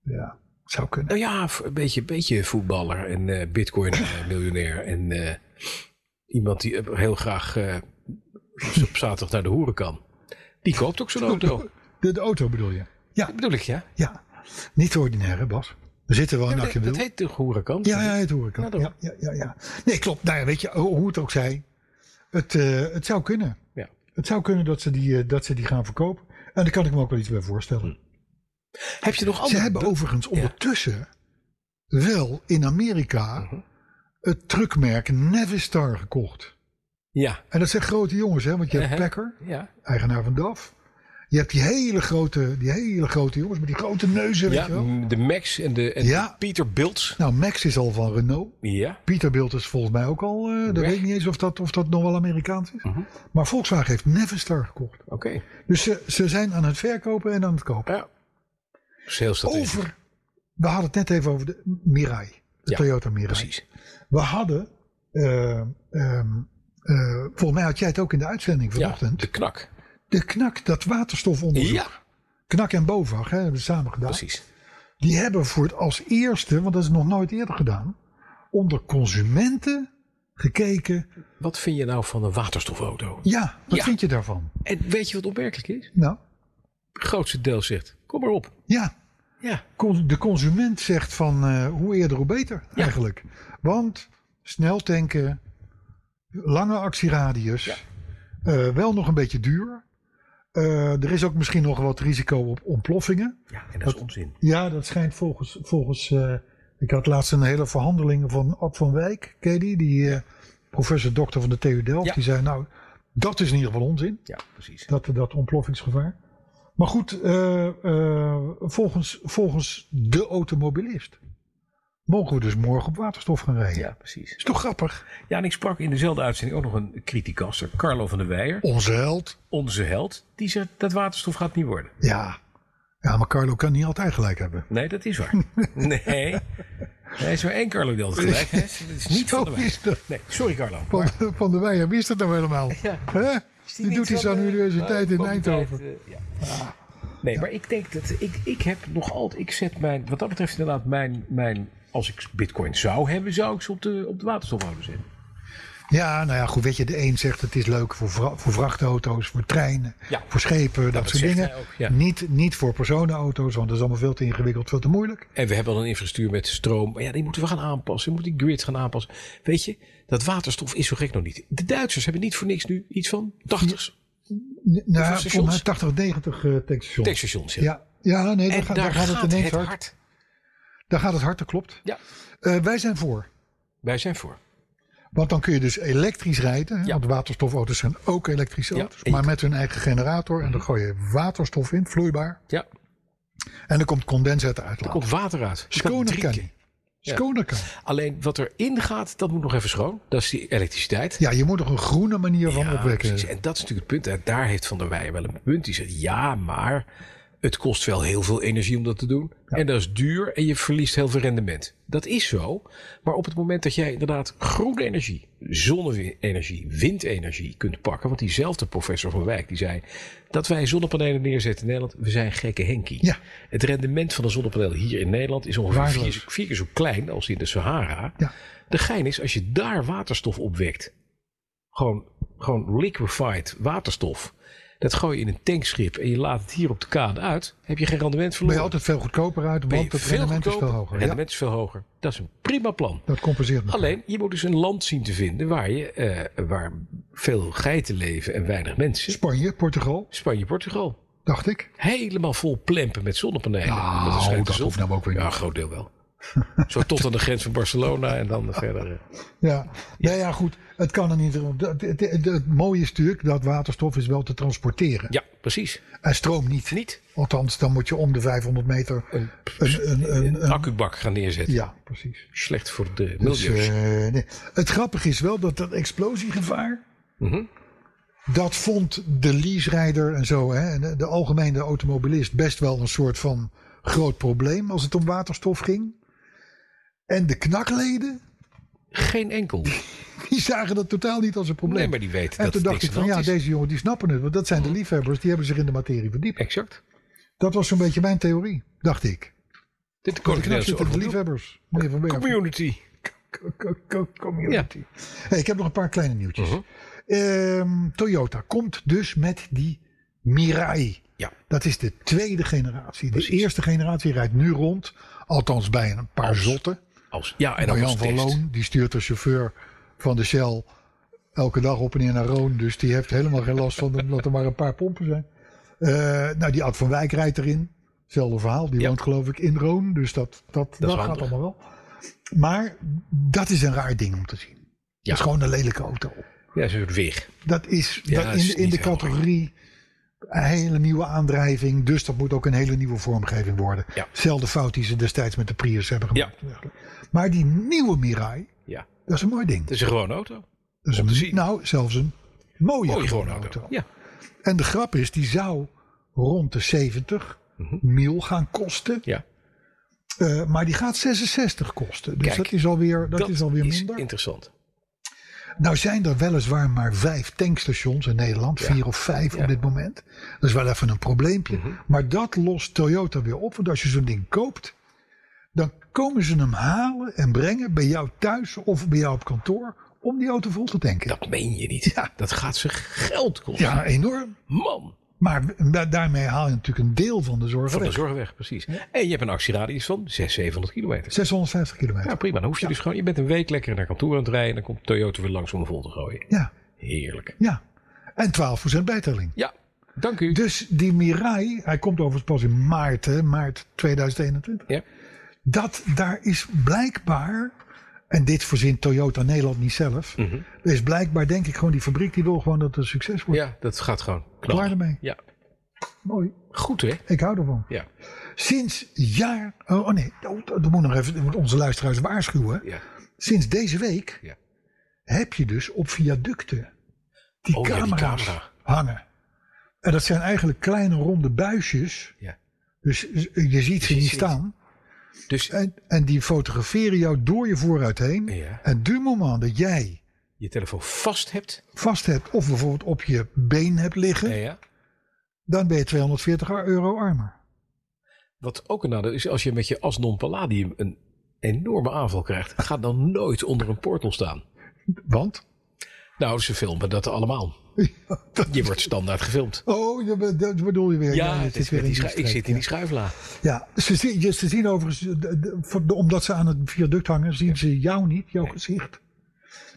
Speaker 2: Ja, zou kunnen.
Speaker 5: nou ja, een beetje, beetje voetballer en eh, bitcoin-miljonair. en eh, iemand die eh, heel graag eh, op zaterdag naar de hoeren kan. Die koopt
Speaker 2: (laughs)
Speaker 5: ook zo'n auto.
Speaker 2: De, de auto bedoel je? Ja,
Speaker 5: Dat bedoel ik, ja.
Speaker 2: ja. Niet te ordinair, hè, Bas? We zitten wel in
Speaker 5: Dat,
Speaker 2: Akkewiel.
Speaker 5: heet de hoerenkant.
Speaker 2: Ja, ja, het hoor ik.
Speaker 5: Ja,
Speaker 2: al.
Speaker 5: dat
Speaker 2: Ja, ja, ja, ja. Nee, klopt. Nou ja, weet je, hoe hoe het ook zij. Het, eh, het zou kunnen.
Speaker 5: Ja.
Speaker 2: Het zou kunnen dat ze, die, eh, dat ze die gaan verkopen. En daar kan ik me ook wel iets bij
Speaker 5: Hm.
Speaker 2: voorstellen.
Speaker 5: Heb je nog
Speaker 2: Ze
Speaker 5: andere...
Speaker 2: hebben overigens ondertussen wel in Amerika
Speaker 5: Mhm.
Speaker 2: het truckmerk Navistar gekocht.
Speaker 5: Ja,
Speaker 2: En dat zijn grote jongens, hè? Want je hebt
Speaker 5: Ja, Eh, hè?
Speaker 2: Packer,
Speaker 5: ja.
Speaker 2: eigenaar van DAF. Je hebt die hele grote, die hele grote jongens met die grote neuzen, weet
Speaker 5: ja Mm,
Speaker 2: je wel.
Speaker 5: de Max en de, en
Speaker 2: Ja.
Speaker 5: de Pieter Biltz.
Speaker 2: Nou, Max is al van Renault.
Speaker 5: Ja.
Speaker 2: Peterbilt is volgens mij ook al. eh dat
Speaker 5: Weg. Mhm.
Speaker 2: weet ik niet eens of dat, of dat nog wel Amerikaans is. Maar Volkswagen heeft Navistar gekocht.
Speaker 5: Oké.
Speaker 2: Dus ze, ze zijn aan het verkopen en aan het kopen.
Speaker 5: Ja. Dus Salesstrategie.
Speaker 2: Over. We hadden het net even over de Mirai. De
Speaker 5: Ja,
Speaker 2: Toyota Mirai.
Speaker 5: Precies.
Speaker 2: We hadden. eh, ehm, eh, volgens mij had jij het ook in de uitzending
Speaker 5: Ja,
Speaker 2: vanochtend.
Speaker 5: de knak.
Speaker 2: de knak, dat waterstofonderzoek.
Speaker 5: Ja,
Speaker 2: Knak en BOVAG hè, hebben we samen gedaan.
Speaker 5: precies.
Speaker 2: Die hebben voor het als eerste, want dat is nog nooit eerder gedaan, onder consumenten gekeken.
Speaker 5: Wat vind je nou van een waterstofauto?
Speaker 2: Ja, wat
Speaker 5: Ja.
Speaker 2: vind je daarvan?
Speaker 5: En weet je wat opmerkelijk is?
Speaker 2: Nou,
Speaker 5: Het grootste deel zegt, kom maar op.
Speaker 2: ja.
Speaker 5: Ja.
Speaker 2: Cons- De consument zegt van eh, hoe eerder hoe beter eigenlijk. Want snel tanken, lange actieradius, eh, wel nog een beetje duur. Eh, er is ook misschien nog wat risico op ontploffingen.
Speaker 5: Ja, en dat is onzin.
Speaker 2: Ja, dat schijnt volgens. volgens eh, ik had laatst een hele verhandeling van Ab van Wijk, ken je die? Die eh, professor dokter van de TU Delft.
Speaker 5: Ja.
Speaker 2: Die zei: Nou, dat is in ieder geval onzin.
Speaker 5: Ja, precies.
Speaker 2: dat, dat ontploffingsgevaar. Maar goed, eh, eh, volgens, volgens de automobilist mogen we dus morgen op waterstof gaan rijden.
Speaker 5: Ja, precies.
Speaker 2: Is toch grappig?
Speaker 5: Ja, en ik sprak in dezelfde uitzending ook nog een criticaster, Carlo van der Weijer,
Speaker 2: Onze held.
Speaker 5: onze held, die zegt dat waterstof gaat niet worden.
Speaker 2: Ja. Ja, maar Carlo kan niet altijd gelijk hebben.
Speaker 5: Nee, dat is waar.
Speaker 2: (laughs)
Speaker 5: Nee. Er is maar één Carlo die altijd gelijk heeft. Dat is niet
Speaker 2: Zo
Speaker 5: van de Weijer.
Speaker 2: is dat.
Speaker 5: Nee, sorry Carlo.
Speaker 2: Van, van der Weijer wist het nou
Speaker 5: (laughs)
Speaker 2: helemaal. Hè? Die doet iets
Speaker 5: eh,
Speaker 2: aan de universiteit in Eindhoven.
Speaker 5: Nee, maar ik denk dat ik, ik heb nog altijd. Ik zet mijn. Wat dat betreft, inderdaad, mijn. mijn als ik Bitcoin zou hebben, zou ik ze op de, op de waterstofauto zetten.
Speaker 2: Ja, nou ja, goed, weet je, de een zegt het is leuk voor, vra- voor vrachtauto's, voor treinen,
Speaker 5: Ja.
Speaker 2: voor schepen, dat,
Speaker 5: dat
Speaker 2: soort
Speaker 5: zegt
Speaker 2: dingen.
Speaker 5: hij ook, ja.
Speaker 2: niet, niet voor personenauto's, want dat is allemaal veel te ingewikkeld, veel te moeilijk.
Speaker 5: En we hebben al een infrastructuur met stroom. Maar ja, die moeten we gaan aanpassen. We moeten die grid gaan aanpassen. Weet je, dat waterstof is zo gek nog niet. De Duitsers hebben niet voor niks nu iets van 80
Speaker 2: N- Nou,
Speaker 5: Hoeveel
Speaker 2: volgens
Speaker 5: stations?
Speaker 2: mij 80, 90 uh, tankstations.
Speaker 5: tankstations. Ja.
Speaker 2: Ja, ja, nee, daar,
Speaker 5: en
Speaker 2: ga-
Speaker 5: daar,
Speaker 2: daar gaat het
Speaker 5: gaat
Speaker 2: ineens
Speaker 5: het
Speaker 2: hard.
Speaker 5: hard.
Speaker 2: Daar gaat het hard, dat klopt.
Speaker 5: Ja,
Speaker 2: Eh, wij zijn voor.
Speaker 5: wij zijn voor.
Speaker 2: Want dan kun je dus elektrisch rijden. hè,
Speaker 5: Ja.
Speaker 2: Want waterstofauto's zijn ook elektrische
Speaker 5: Ja,
Speaker 2: auto's.
Speaker 5: en je
Speaker 2: Maar met hun eigen generator. En dan gooi je waterstof in, vloeibaar.
Speaker 5: Ja,
Speaker 2: En dan komt condens uit de
Speaker 5: er
Speaker 2: uitlaat.
Speaker 5: komt water uit. Je kan
Speaker 2: Skoner kan.
Speaker 5: drinken. Ja.
Speaker 2: Skoner kan.
Speaker 5: Alleen wat erin gaat, dat moet nog even schoon. Dat is die elektriciteit.
Speaker 2: Ja, je moet nog een groene manier van
Speaker 5: Ja,
Speaker 2: opwekken.
Speaker 5: precies. En dat is natuurlijk het punt. En daar heeft Van der Weijer wel een punt. Die zegt, ja, maar het kost wel heel veel energie om dat te doen. En dat is duur en je verliest heel veel rendement. Dat is zo. Maar op het moment dat jij inderdaad groene energie, zonne-energie, windenergie kunt pakken. Want diezelfde professor van Wijk die zei dat wij zonnepanelen neerzetten in Nederland. We zijn gekke Henkie.
Speaker 2: Ja.
Speaker 5: Het rendement van een zonnepaneel hier in Nederland is ongeveer
Speaker 2: Waardeloos.
Speaker 5: vier, vier keer zo klein als in de Sahara.
Speaker 2: Ja.
Speaker 5: De gein is als je daar waterstof opwekt gewoon, gewoon liquefied waterstof. Dat gooi je in een tankschip en je laat het hier op de kade uit. Heb je geen rendement
Speaker 2: ben je
Speaker 5: verloren.
Speaker 2: altijd veel goedkoper uit,
Speaker 5: Ben je
Speaker 2: want het
Speaker 5: veel
Speaker 2: rendement is
Speaker 5: goedkoper,
Speaker 2: veel hoger. Ja,
Speaker 5: Rendement is veel hoger. Dat is een prima plan.
Speaker 2: dat compenseert me.
Speaker 5: Alleen, je moet dus een land zien te vinden waar, je, eh, waar veel geiten leven en weinig mensen.
Speaker 2: Spanje, Portugal,
Speaker 5: Spanje, Portugal.
Speaker 2: dacht ik.
Speaker 5: Helemaal vol plempen met zonnepanelen.
Speaker 2: Nou,
Speaker 5: Met een schijntje
Speaker 2: dat
Speaker 5: zon.
Speaker 2: hoeft nou ook weer
Speaker 5: Ja,
Speaker 2: niet.
Speaker 5: een groot deel
Speaker 2: (laughs)
Speaker 5: wel. Zo tot aan de grens van Barcelona en dan verder. eh.
Speaker 2: Ja, ja, ja goed. Het kan er niet. om. Dat- Het, het- het mooie is natuurlijk dat waterstof is wel te transporteren.
Speaker 5: Ja, precies.
Speaker 2: En stroom niet.
Speaker 5: Niet
Speaker 2: Althans, dan moet je om de 500 meter een, een, een, een-
Speaker 5: een accubak gaan neerzetten.
Speaker 2: Ehm. ja, precies.
Speaker 5: Slecht voor de
Speaker 2: Dus,
Speaker 5: milieu.
Speaker 2: eh, nee. Het grappige is wel dat dat explosiegevaar.
Speaker 5: Mhm.
Speaker 2: Dat vond de leaserijder en zo, hè, en de, de algemene automobilist, best wel een soort van groot probleem als het om waterstof ging. En de knakleden, (laughs)
Speaker 5: Geen enkel.
Speaker 2: die zagen dat totaal niet als een probleem.
Speaker 5: Nee, maar die weten
Speaker 2: en
Speaker 5: dat
Speaker 2: toen
Speaker 5: het
Speaker 2: dacht
Speaker 5: niks
Speaker 2: ik
Speaker 5: aan de
Speaker 2: van
Speaker 5: hand
Speaker 2: ja,
Speaker 5: is. Mhm.
Speaker 2: deze jongen die snappen het, want dat zijn de liefhebbers, die hebben zich in de materie verdiept.
Speaker 5: Exact.
Speaker 2: Dat was zo'n beetje mijn theorie, dacht ik.
Speaker 5: Dit
Speaker 2: De knap zitten de liefhebbers. Meneer Van Werven.
Speaker 5: Community.
Speaker 2: Co- co- co- Community. Hey, (laughs) ik heb nog een paar kleine nieuwtjes.
Speaker 5: Mhm.
Speaker 2: Ehm, Toyota komt dus met die Mirai.
Speaker 5: Ja.
Speaker 2: Dat is de tweede generatie. De
Speaker 5: Precies.
Speaker 2: eerste generatie rijdt nu rond. Althans bij een paar zotten.
Speaker 5: Als, ja, en dan
Speaker 2: Marjan
Speaker 5: als
Speaker 2: van
Speaker 5: test.
Speaker 2: Loon die stuurt de chauffeur van de Shell elke dag op en neer naar Roon. Dus die heeft helemaal geen last van omdat er maar een paar pompen zijn. Eh, nou, die Ad van Wijk rijdt erin. Hetzelfde verhaal. Die
Speaker 5: Ja.
Speaker 2: woont geloof ik in Roon. Dus dat, dat, dat, gaat
Speaker 5: handig.
Speaker 2: allemaal wel. Maar dat is een raar ding om te zien.
Speaker 5: Ja.
Speaker 2: Dat is gewoon een lelijke auto.
Speaker 5: Ja, zo'n soort weer.
Speaker 2: Dat is,
Speaker 5: Ja,
Speaker 2: dat
Speaker 5: dat is
Speaker 2: in, in de
Speaker 5: niet heel
Speaker 2: categorie een hele nieuwe aandrijving. Dus dat moet ook een hele nieuwe vormgeving worden.
Speaker 5: Ja.
Speaker 2: Zelfde fout die ze destijds met de Prius hebben
Speaker 5: Ja.
Speaker 2: gemaakt. Maar die nieuwe Mirai,
Speaker 5: Ja.
Speaker 2: dat is een mooi ding.
Speaker 5: Het is een gewone auto.
Speaker 2: Dat is
Speaker 5: om te
Speaker 2: een-
Speaker 5: zien.
Speaker 2: Nou, zelfs een mooie, gewone
Speaker 5: Mooie gewone
Speaker 2: auto.
Speaker 5: auto. Ja.
Speaker 2: En de grap is, die zou rond de 70 mil gaan kosten.
Speaker 5: Mhm. ja.
Speaker 2: Eh, maar die gaat 66 kosten. Dus
Speaker 5: Kijk,
Speaker 2: dat is alweer, dat is alweer
Speaker 5: is
Speaker 2: minder.
Speaker 5: interessant.
Speaker 2: Nou zijn er weliswaar maar vijf tankstations in Nederland. Vier of vijf op dit moment. Dat is wel even een probleempje.
Speaker 5: Mhm.
Speaker 2: Maar dat lost Toyota weer op. Want als je zo'n ding koopt, dan komen ze hem halen en brengen bij jou thuis of bij jou op kantoor. Om die auto vol te tanken.
Speaker 5: Dat meen je niet.
Speaker 2: Ja.
Speaker 5: Dat gaat ze geld kosten.
Speaker 2: Ja, enorm.
Speaker 5: Man.
Speaker 2: Maar da- daarmee haal je natuurlijk een deel van de zorg
Speaker 5: Van de
Speaker 2: weg.
Speaker 5: zorg weg, precies. En je hebt een actieradius van 600, 700 kilometer.
Speaker 2: 650 kilometer.
Speaker 5: Ja,
Speaker 2: Ja.
Speaker 5: prima. Dan hoef je dus gewoon... Je bent een week lekker naar kantoor aan het rijden... en dan komt Toyota weer langs om hem vol te gooien.
Speaker 2: ja,
Speaker 5: Heerlijk.
Speaker 2: En 12% bijtelling.
Speaker 5: Ja, dank u.
Speaker 2: Dus die Mirai, hij komt overigens pas in maart, hè, maart 2021.
Speaker 5: Ja.
Speaker 2: Dat daar is blijkbaar, en dit verzint Toyota Nederland niet zelf,
Speaker 5: Mhm.
Speaker 2: er is blijkbaar denk ik gewoon die fabriek die wil gewoon dat het een succes wordt.
Speaker 5: ja, dat gaat gewoon.
Speaker 2: Klaar ermee.
Speaker 5: Ja.
Speaker 2: Mooi.
Speaker 5: Goed hè?
Speaker 2: Ik hou ervan.
Speaker 5: Ja.
Speaker 2: Sinds jaar. Oh, oh nee, dat, dat moet nog even dat moet onze luisteraars waarschuwen.
Speaker 5: ja.
Speaker 2: Sinds deze week
Speaker 5: Ja.
Speaker 2: heb je dus op viaducten die
Speaker 5: Oh ja, die
Speaker 2: camera's
Speaker 5: camera.
Speaker 2: hangen. En dat zijn eigenlijk kleine ronde buisjes.
Speaker 5: ja.
Speaker 2: Dus je ziet ze niet
Speaker 5: ziet-
Speaker 2: staan.
Speaker 5: Dus
Speaker 2: En, en die fotograferen jou door je vooruit heen.
Speaker 5: Ja.
Speaker 2: En du moment dat jij
Speaker 5: je telefoon vast hebt.
Speaker 2: vast hebt of bijvoorbeeld op je been hebt liggen,
Speaker 5: Ja, ja.
Speaker 2: dan ben je 240 euro armer.
Speaker 5: Wat ook een nadeel is, als je met je Asnon Palladium een enorme aanval krijgt, ga dan nooit onder een portal staan.
Speaker 2: Want?
Speaker 5: Nou, ze filmen dat allemaal.
Speaker 2: Dat-
Speaker 5: Je wordt standaard gefilmd.
Speaker 2: (laughs) oh, je be- dat bedoel je weer.
Speaker 5: Ja,
Speaker 2: dit
Speaker 5: het
Speaker 2: is
Speaker 5: is met die
Speaker 2: in
Speaker 5: schu- ik
Speaker 2: streek,
Speaker 5: zit in die
Speaker 2: ja.
Speaker 5: schuifla.
Speaker 2: Ja, ze, zien- je- ze zien overigens, de- de- voor- de- omdat ze aan het viaduct hangen, zien ze jou niet, jouw gezicht.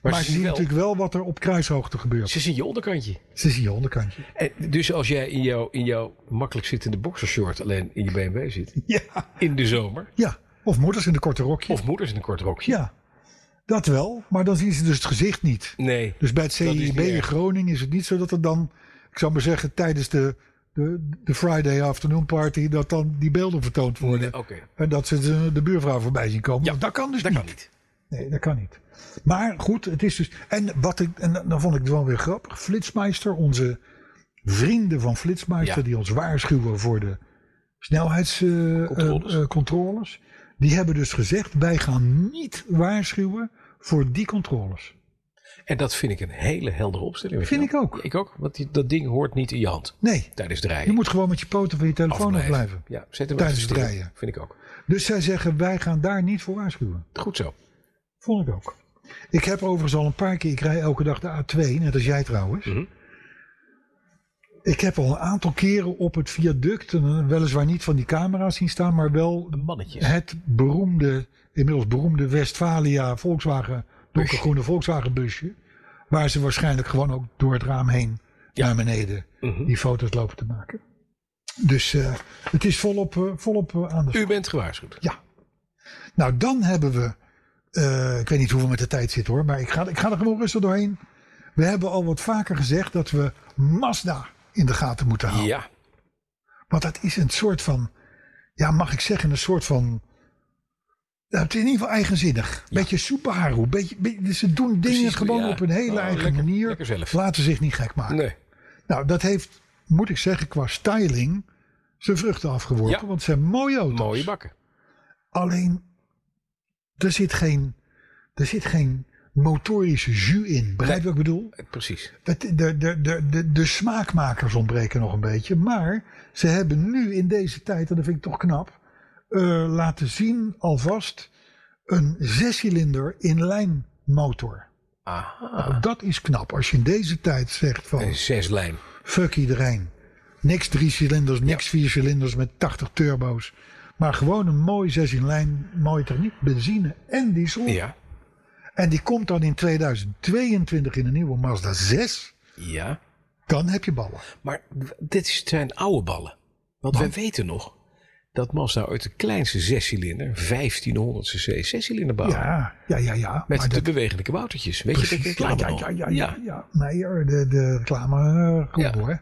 Speaker 2: Maar,
Speaker 5: ze
Speaker 2: ze
Speaker 5: zien
Speaker 2: zien
Speaker 5: wel-
Speaker 2: natuurlijk wel wat er op kruishoogte gebeurt.
Speaker 5: Ze zien je onderkantje.
Speaker 2: Ze zien je onderkantje.
Speaker 5: En dus als jij in jouw, in jouw makkelijk zittende boxershort alleen in je BMW zit,
Speaker 2: Ja.
Speaker 5: in de zomer,
Speaker 2: ja. Of moeders in een korte rokje.
Speaker 5: of moeders in een kort rokje.
Speaker 2: Ja, dat wel. Maar dan zien ze dus het gezicht niet.
Speaker 5: Nee,
Speaker 2: Dus bij het
Speaker 5: Dat is niet
Speaker 2: CIB in
Speaker 5: erg.
Speaker 2: Groningen is het niet zo dat er dan, ik zou maar zeggen, tijdens de, de, de Friday afternoon party, dat dan die beelden vertoond worden.
Speaker 5: oké.
Speaker 2: En dat ze de, de buurvrouw voorbij zien komen.
Speaker 5: Ja,
Speaker 2: Want dat kan dus
Speaker 5: dat
Speaker 2: niet.
Speaker 5: kan niet.
Speaker 2: Nee, dat kan niet. Maar goed, het is dus. En, wat ik, en dan vond ik het wel weer grappig. Flitsmeister, onze vrienden van Flitsmeister,
Speaker 5: Ja.
Speaker 2: die ons waarschuwen voor de snelheidscontroles,
Speaker 5: Controles.
Speaker 2: controles, die hebben dus gezegd: wij gaan niet waarschuwen voor die controles.
Speaker 5: En dat vind ik een hele heldere opstelling.
Speaker 2: Vind
Speaker 5: weet je
Speaker 2: ik
Speaker 5: wel.
Speaker 2: ook.
Speaker 5: Ik ook, want die- dat ding hoort niet in je hand
Speaker 2: Nee,
Speaker 5: tijdens het rijden.
Speaker 2: je moet gewoon met je poten van je telefoon
Speaker 5: Afblijven.
Speaker 2: afblijven.
Speaker 5: Ja, zet hem
Speaker 2: Tijdens
Speaker 5: even
Speaker 2: het
Speaker 5: stil.
Speaker 2: rijden.
Speaker 5: Vind ik ook.
Speaker 2: Dus zij zeggen: wij gaan daar niet voor waarschuwen.
Speaker 5: Goed zo.
Speaker 2: Vond ik ook. Ik heb overigens al een paar keer, ik rij elke dag de A2, net als jij trouwens.
Speaker 5: Mhm.
Speaker 2: Ik heb al een aantal keren op het viaduct, en weliswaar niet van die camera's zien staan, maar wel
Speaker 5: Een mannetje.
Speaker 2: het beroemde, inmiddels beroemde Westfalia Volkswagen, donkergroene Volkswagen busje. Waar ze waarschijnlijk gewoon ook door het raam heen
Speaker 5: Ja.
Speaker 2: naar beneden
Speaker 5: Mhm.
Speaker 2: die foto's lopen te maken. Dus eh, het is volop, eh, volop eh, aan de
Speaker 5: U bent gewaarschuwd.
Speaker 2: ja. Nou, dan hebben we. eh, ik weet niet hoeveel met de tijd zit hoor, maar ik ga, ik ga er gewoon rustig doorheen. We hebben al wat vaker gezegd dat we Mazda in de gaten moeten houden.
Speaker 5: Ja.
Speaker 2: Want dat is een soort van. Ja, mag ik zeggen, een soort van. Nou, het is in ieder geval eigenzinnig. Beetje Subaru. Beetje, beetje- dus ze doen dingen
Speaker 5: Precies,
Speaker 2: gewoon
Speaker 5: ja.
Speaker 2: op een hele
Speaker 5: Oh,
Speaker 2: eigen
Speaker 5: lekker-
Speaker 2: manier.
Speaker 5: lekker zelf.
Speaker 2: Laten zich niet gek maken.
Speaker 5: Nee.
Speaker 2: Nou, dat heeft, moet ik zeggen, qua styling zijn vruchten afgeworpen.
Speaker 5: Ja.
Speaker 2: Want het zijn mooie auto's.
Speaker 5: Mooie bakken.
Speaker 2: Alleen, er zit geen, er zit geen motorische jus in. Begrijp je wat ik bedoel?
Speaker 5: Eh, Precies.
Speaker 2: Het, de, de, de, de, de smaakmakers ontbreken nog een beetje. Maar ze hebben nu in deze tijd, en dat vind ik toch knap, eh, laten zien alvast een zescilinder inlijn motor.
Speaker 5: Aha.
Speaker 2: Dat is knap. Als je in deze tijd zegt van
Speaker 5: Een zeslijn.
Speaker 2: fuck iedereen. Niks drie cilinders, niks vier cilinders met 80 turbo's. Maar gewoon een mooi zes in lijn, mooie techniek, benzine en diesel.
Speaker 5: Ja.
Speaker 2: En die komt dan in 2022 in een nieuwe Mazda 6.
Speaker 5: Ja.
Speaker 2: Dan heb je ballen.
Speaker 5: Maar w- dit is- zijn oude ballen. Want we weten nog dat Mazda uit de kleinste zescilinder, 1500 cc, zescilinder bouwde.
Speaker 2: Ja, ja, ja, ja.
Speaker 5: Met
Speaker 2: Maar
Speaker 5: de
Speaker 2: dat-
Speaker 5: bewegende kaboutertjes. Weet je,
Speaker 2: precies.
Speaker 5: dat
Speaker 2: ja,
Speaker 5: reclame
Speaker 2: ja,
Speaker 5: nog?
Speaker 2: ja, ja, ja, ja. Nee, hoor, de, de reclame eh, goed
Speaker 5: Ja.
Speaker 2: hoor.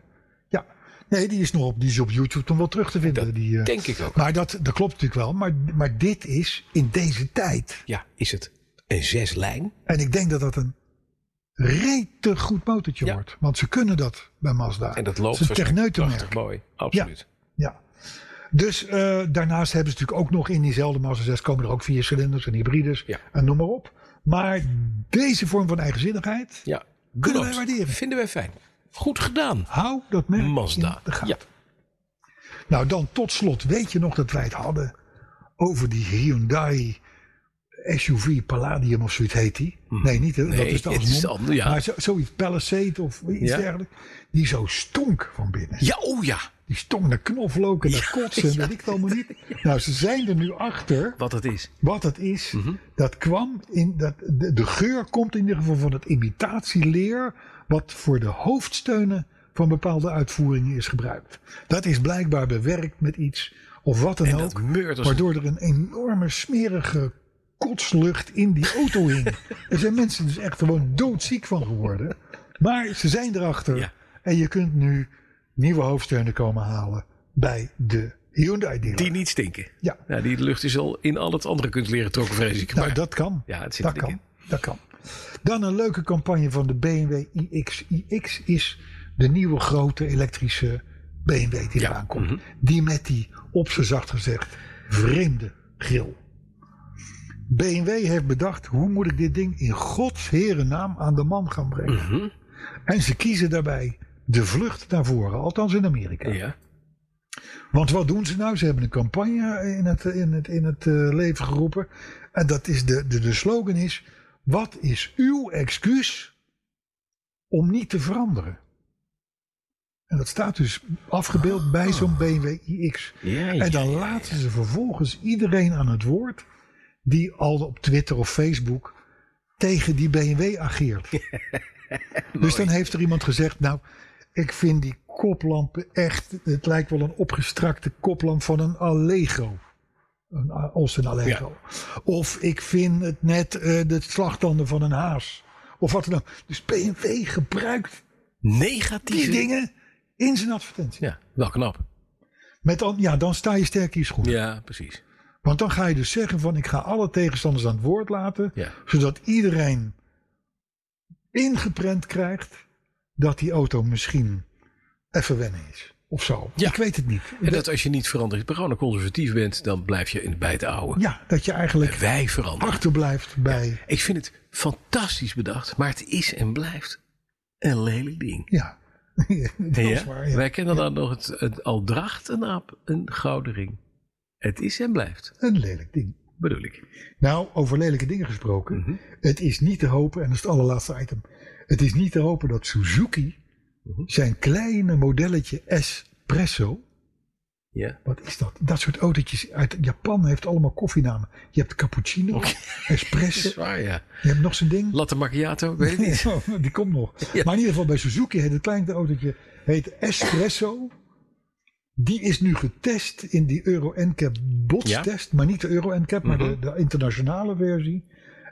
Speaker 2: Ja. Nee, die is nog op, die is op YouTube dan wel terug te vinden. die, eh,
Speaker 5: Denk ik ook.
Speaker 2: Maar dat, dat klopt natuurlijk wel. Maar, maar dit is in deze tijd.
Speaker 5: Ja, is het een zeslijn?
Speaker 2: En ik denk dat dat een rete goed motortje
Speaker 5: Ja.
Speaker 2: wordt. Want ze kunnen dat bij Mazda.
Speaker 5: En dat loopt
Speaker 2: Het is een
Speaker 5: waarschijnlijk
Speaker 2: techneutenmerk.
Speaker 5: prachtig mooi. Absoluut.
Speaker 2: Ja. Dus eh, daarnaast hebben ze natuurlijk ook nog in diezelfde Mazda 6 komen er ook vier cilinders en hybrides
Speaker 5: Ja.
Speaker 2: en noem maar op. Maar deze vorm van eigenzinnigheid,
Speaker 5: Ja.
Speaker 2: Kunnen
Speaker 5: klopt.
Speaker 2: wij waarderen.
Speaker 5: Vinden wij fijn. Goed gedaan.
Speaker 2: hou dat merk
Speaker 5: Mazda.
Speaker 2: in de gaten.
Speaker 5: Ja.
Speaker 2: Nou dan tot slot, weet je nog dat wij het hadden over die Hyundai SUV Palladium of zoiets heet die? Nee, niet hè? dat
Speaker 5: Hm. Nee,
Speaker 2: is de
Speaker 5: het is de
Speaker 2: Asmon.
Speaker 5: andere, ja.
Speaker 2: Maar zo- zoiets Palisade of iets
Speaker 5: Ja.
Speaker 2: dergelijks. Die zo stonk van binnen.
Speaker 5: Ja, oh ja.
Speaker 2: Die stonk naar knoflook en naar kotsen en weet ik het allemaal niet. Nou, ze zijn er nu achter
Speaker 5: Wat het is.
Speaker 2: wat dat is. Dat kwam in. Dat, de, de geur komt in ieder geval van het imitatieleer. Wat voor de hoofdsteunen van bepaalde uitvoeringen is gebruikt. Dat is blijkbaar bewerkt met iets of wat dan
Speaker 5: En dat
Speaker 2: ook.
Speaker 5: meurt als-
Speaker 2: Waardoor er een enorme smerige kotslucht in die auto
Speaker 5: (laughs)
Speaker 2: hing. er zijn mensen dus echt gewoon doodziek van geworden. Maar ze zijn erachter.
Speaker 5: Ja.
Speaker 2: En je kunt nu nieuwe hoofdsteunen komen halen bij de Hyundai dealer.
Speaker 5: Die niet stinken.
Speaker 2: Ja.
Speaker 5: Nou, die lucht is al in al het andere kunt leren trokken, vrees ik.
Speaker 2: Nou,
Speaker 5: Maar-
Speaker 2: dat kan.
Speaker 5: Ja, het zit
Speaker 2: dat
Speaker 5: er dik
Speaker 2: kan. Dat kan. Dan een leuke campagne van de BMW iX. iX is de nieuwe grote elektrische BMW die
Speaker 5: Ja. mhm.
Speaker 2: eraan komt. Die met die, op zijn zacht gezegd, vreemde grill. BMW heeft bedacht, hoe moet ik dit ding in gods herennaam aan de man gaan brengen?
Speaker 5: Mhm.
Speaker 2: En ze kiezen daarbij de vlucht naar voren, althans in Amerika.
Speaker 5: ja.
Speaker 2: Want wat doen ze nou? Ze hebben een campagne in het, in het, in het eh, leven geroepen. En dat is de, de, de slogan is: wat is uw excuus om niet te veranderen? En dat staat dus afgebeeld bij zo'n BMW iX.
Speaker 5: Ah. Ja,
Speaker 2: en
Speaker 5: ja,
Speaker 2: dan laten ze vervolgens iedereen aan het woord die al op Twitter of Facebook tegen die BMW ageert. dus dan heeft er iemand gezegd, nou, ik vind die koplampen echt, het lijkt wel een opgestrakte koplamp van een Allego. Een, A- als een Allego. Of ik vind het net eh, de slagtanden van een haas. Of wat dan ook. Dus BMW gebruikt die
Speaker 5: Negatieve
Speaker 2: dingen in zijn advertentie.
Speaker 5: Ja, wel knap.
Speaker 2: Met dan, ja, dan sta je sterk in je schoen.
Speaker 5: Ja, precies.
Speaker 2: Want dan ga je dus zeggen van ik ga alle tegenstanders aan het woord laten.
Speaker 5: Ja.
Speaker 2: Zodat iedereen ingeprent krijgt dat die auto misschien even wennen is. Of zo.
Speaker 5: Ja.
Speaker 2: Ik weet het niet.
Speaker 5: En dat als je niet verandert, gewoon een conservatief bent, dan blijf je in, bij het oude.
Speaker 2: Ja, dat je eigenlijk
Speaker 5: Wij veranderen.
Speaker 2: achterblijft bij.
Speaker 5: Ik vind het fantastisch bedacht, maar het is en blijft een lelijk ding.
Speaker 2: Ja. (laughs) dat is waar. Ja.
Speaker 5: Wij kennen dan nog het, het al draagt een aap een gouden ring. Het is en blijft,
Speaker 2: Een lelijk ding.
Speaker 5: bedoel ik.
Speaker 2: Nou, over lelijke dingen gesproken.
Speaker 5: Mhm.
Speaker 2: Het is niet te hopen, en dat is het allerlaatste item. Het is niet te hopen dat Suzuki
Speaker 5: Mhm.
Speaker 2: zijn kleine modelletje Espresso.
Speaker 5: Ja.
Speaker 2: Wat is dat? Dat soort autootjes uit Japan heeft allemaal koffienamen. Je hebt cappuccino, espresso.
Speaker 5: (laughs) Zwaar, ja.
Speaker 2: Je hebt nog zo'n ding.
Speaker 5: Latte macchiato, ik weet het
Speaker 2: (laughs)
Speaker 5: niet.
Speaker 2: Oh, Die komt nog. Maar in ieder geval bij Suzuki heet het kleine autootje heet Espresso. Die is nu getest in die Euro NCAP
Speaker 5: Ja. Mhm.
Speaker 2: botstest. Maar niet de Euro NCAP, maar de, de internationale versie.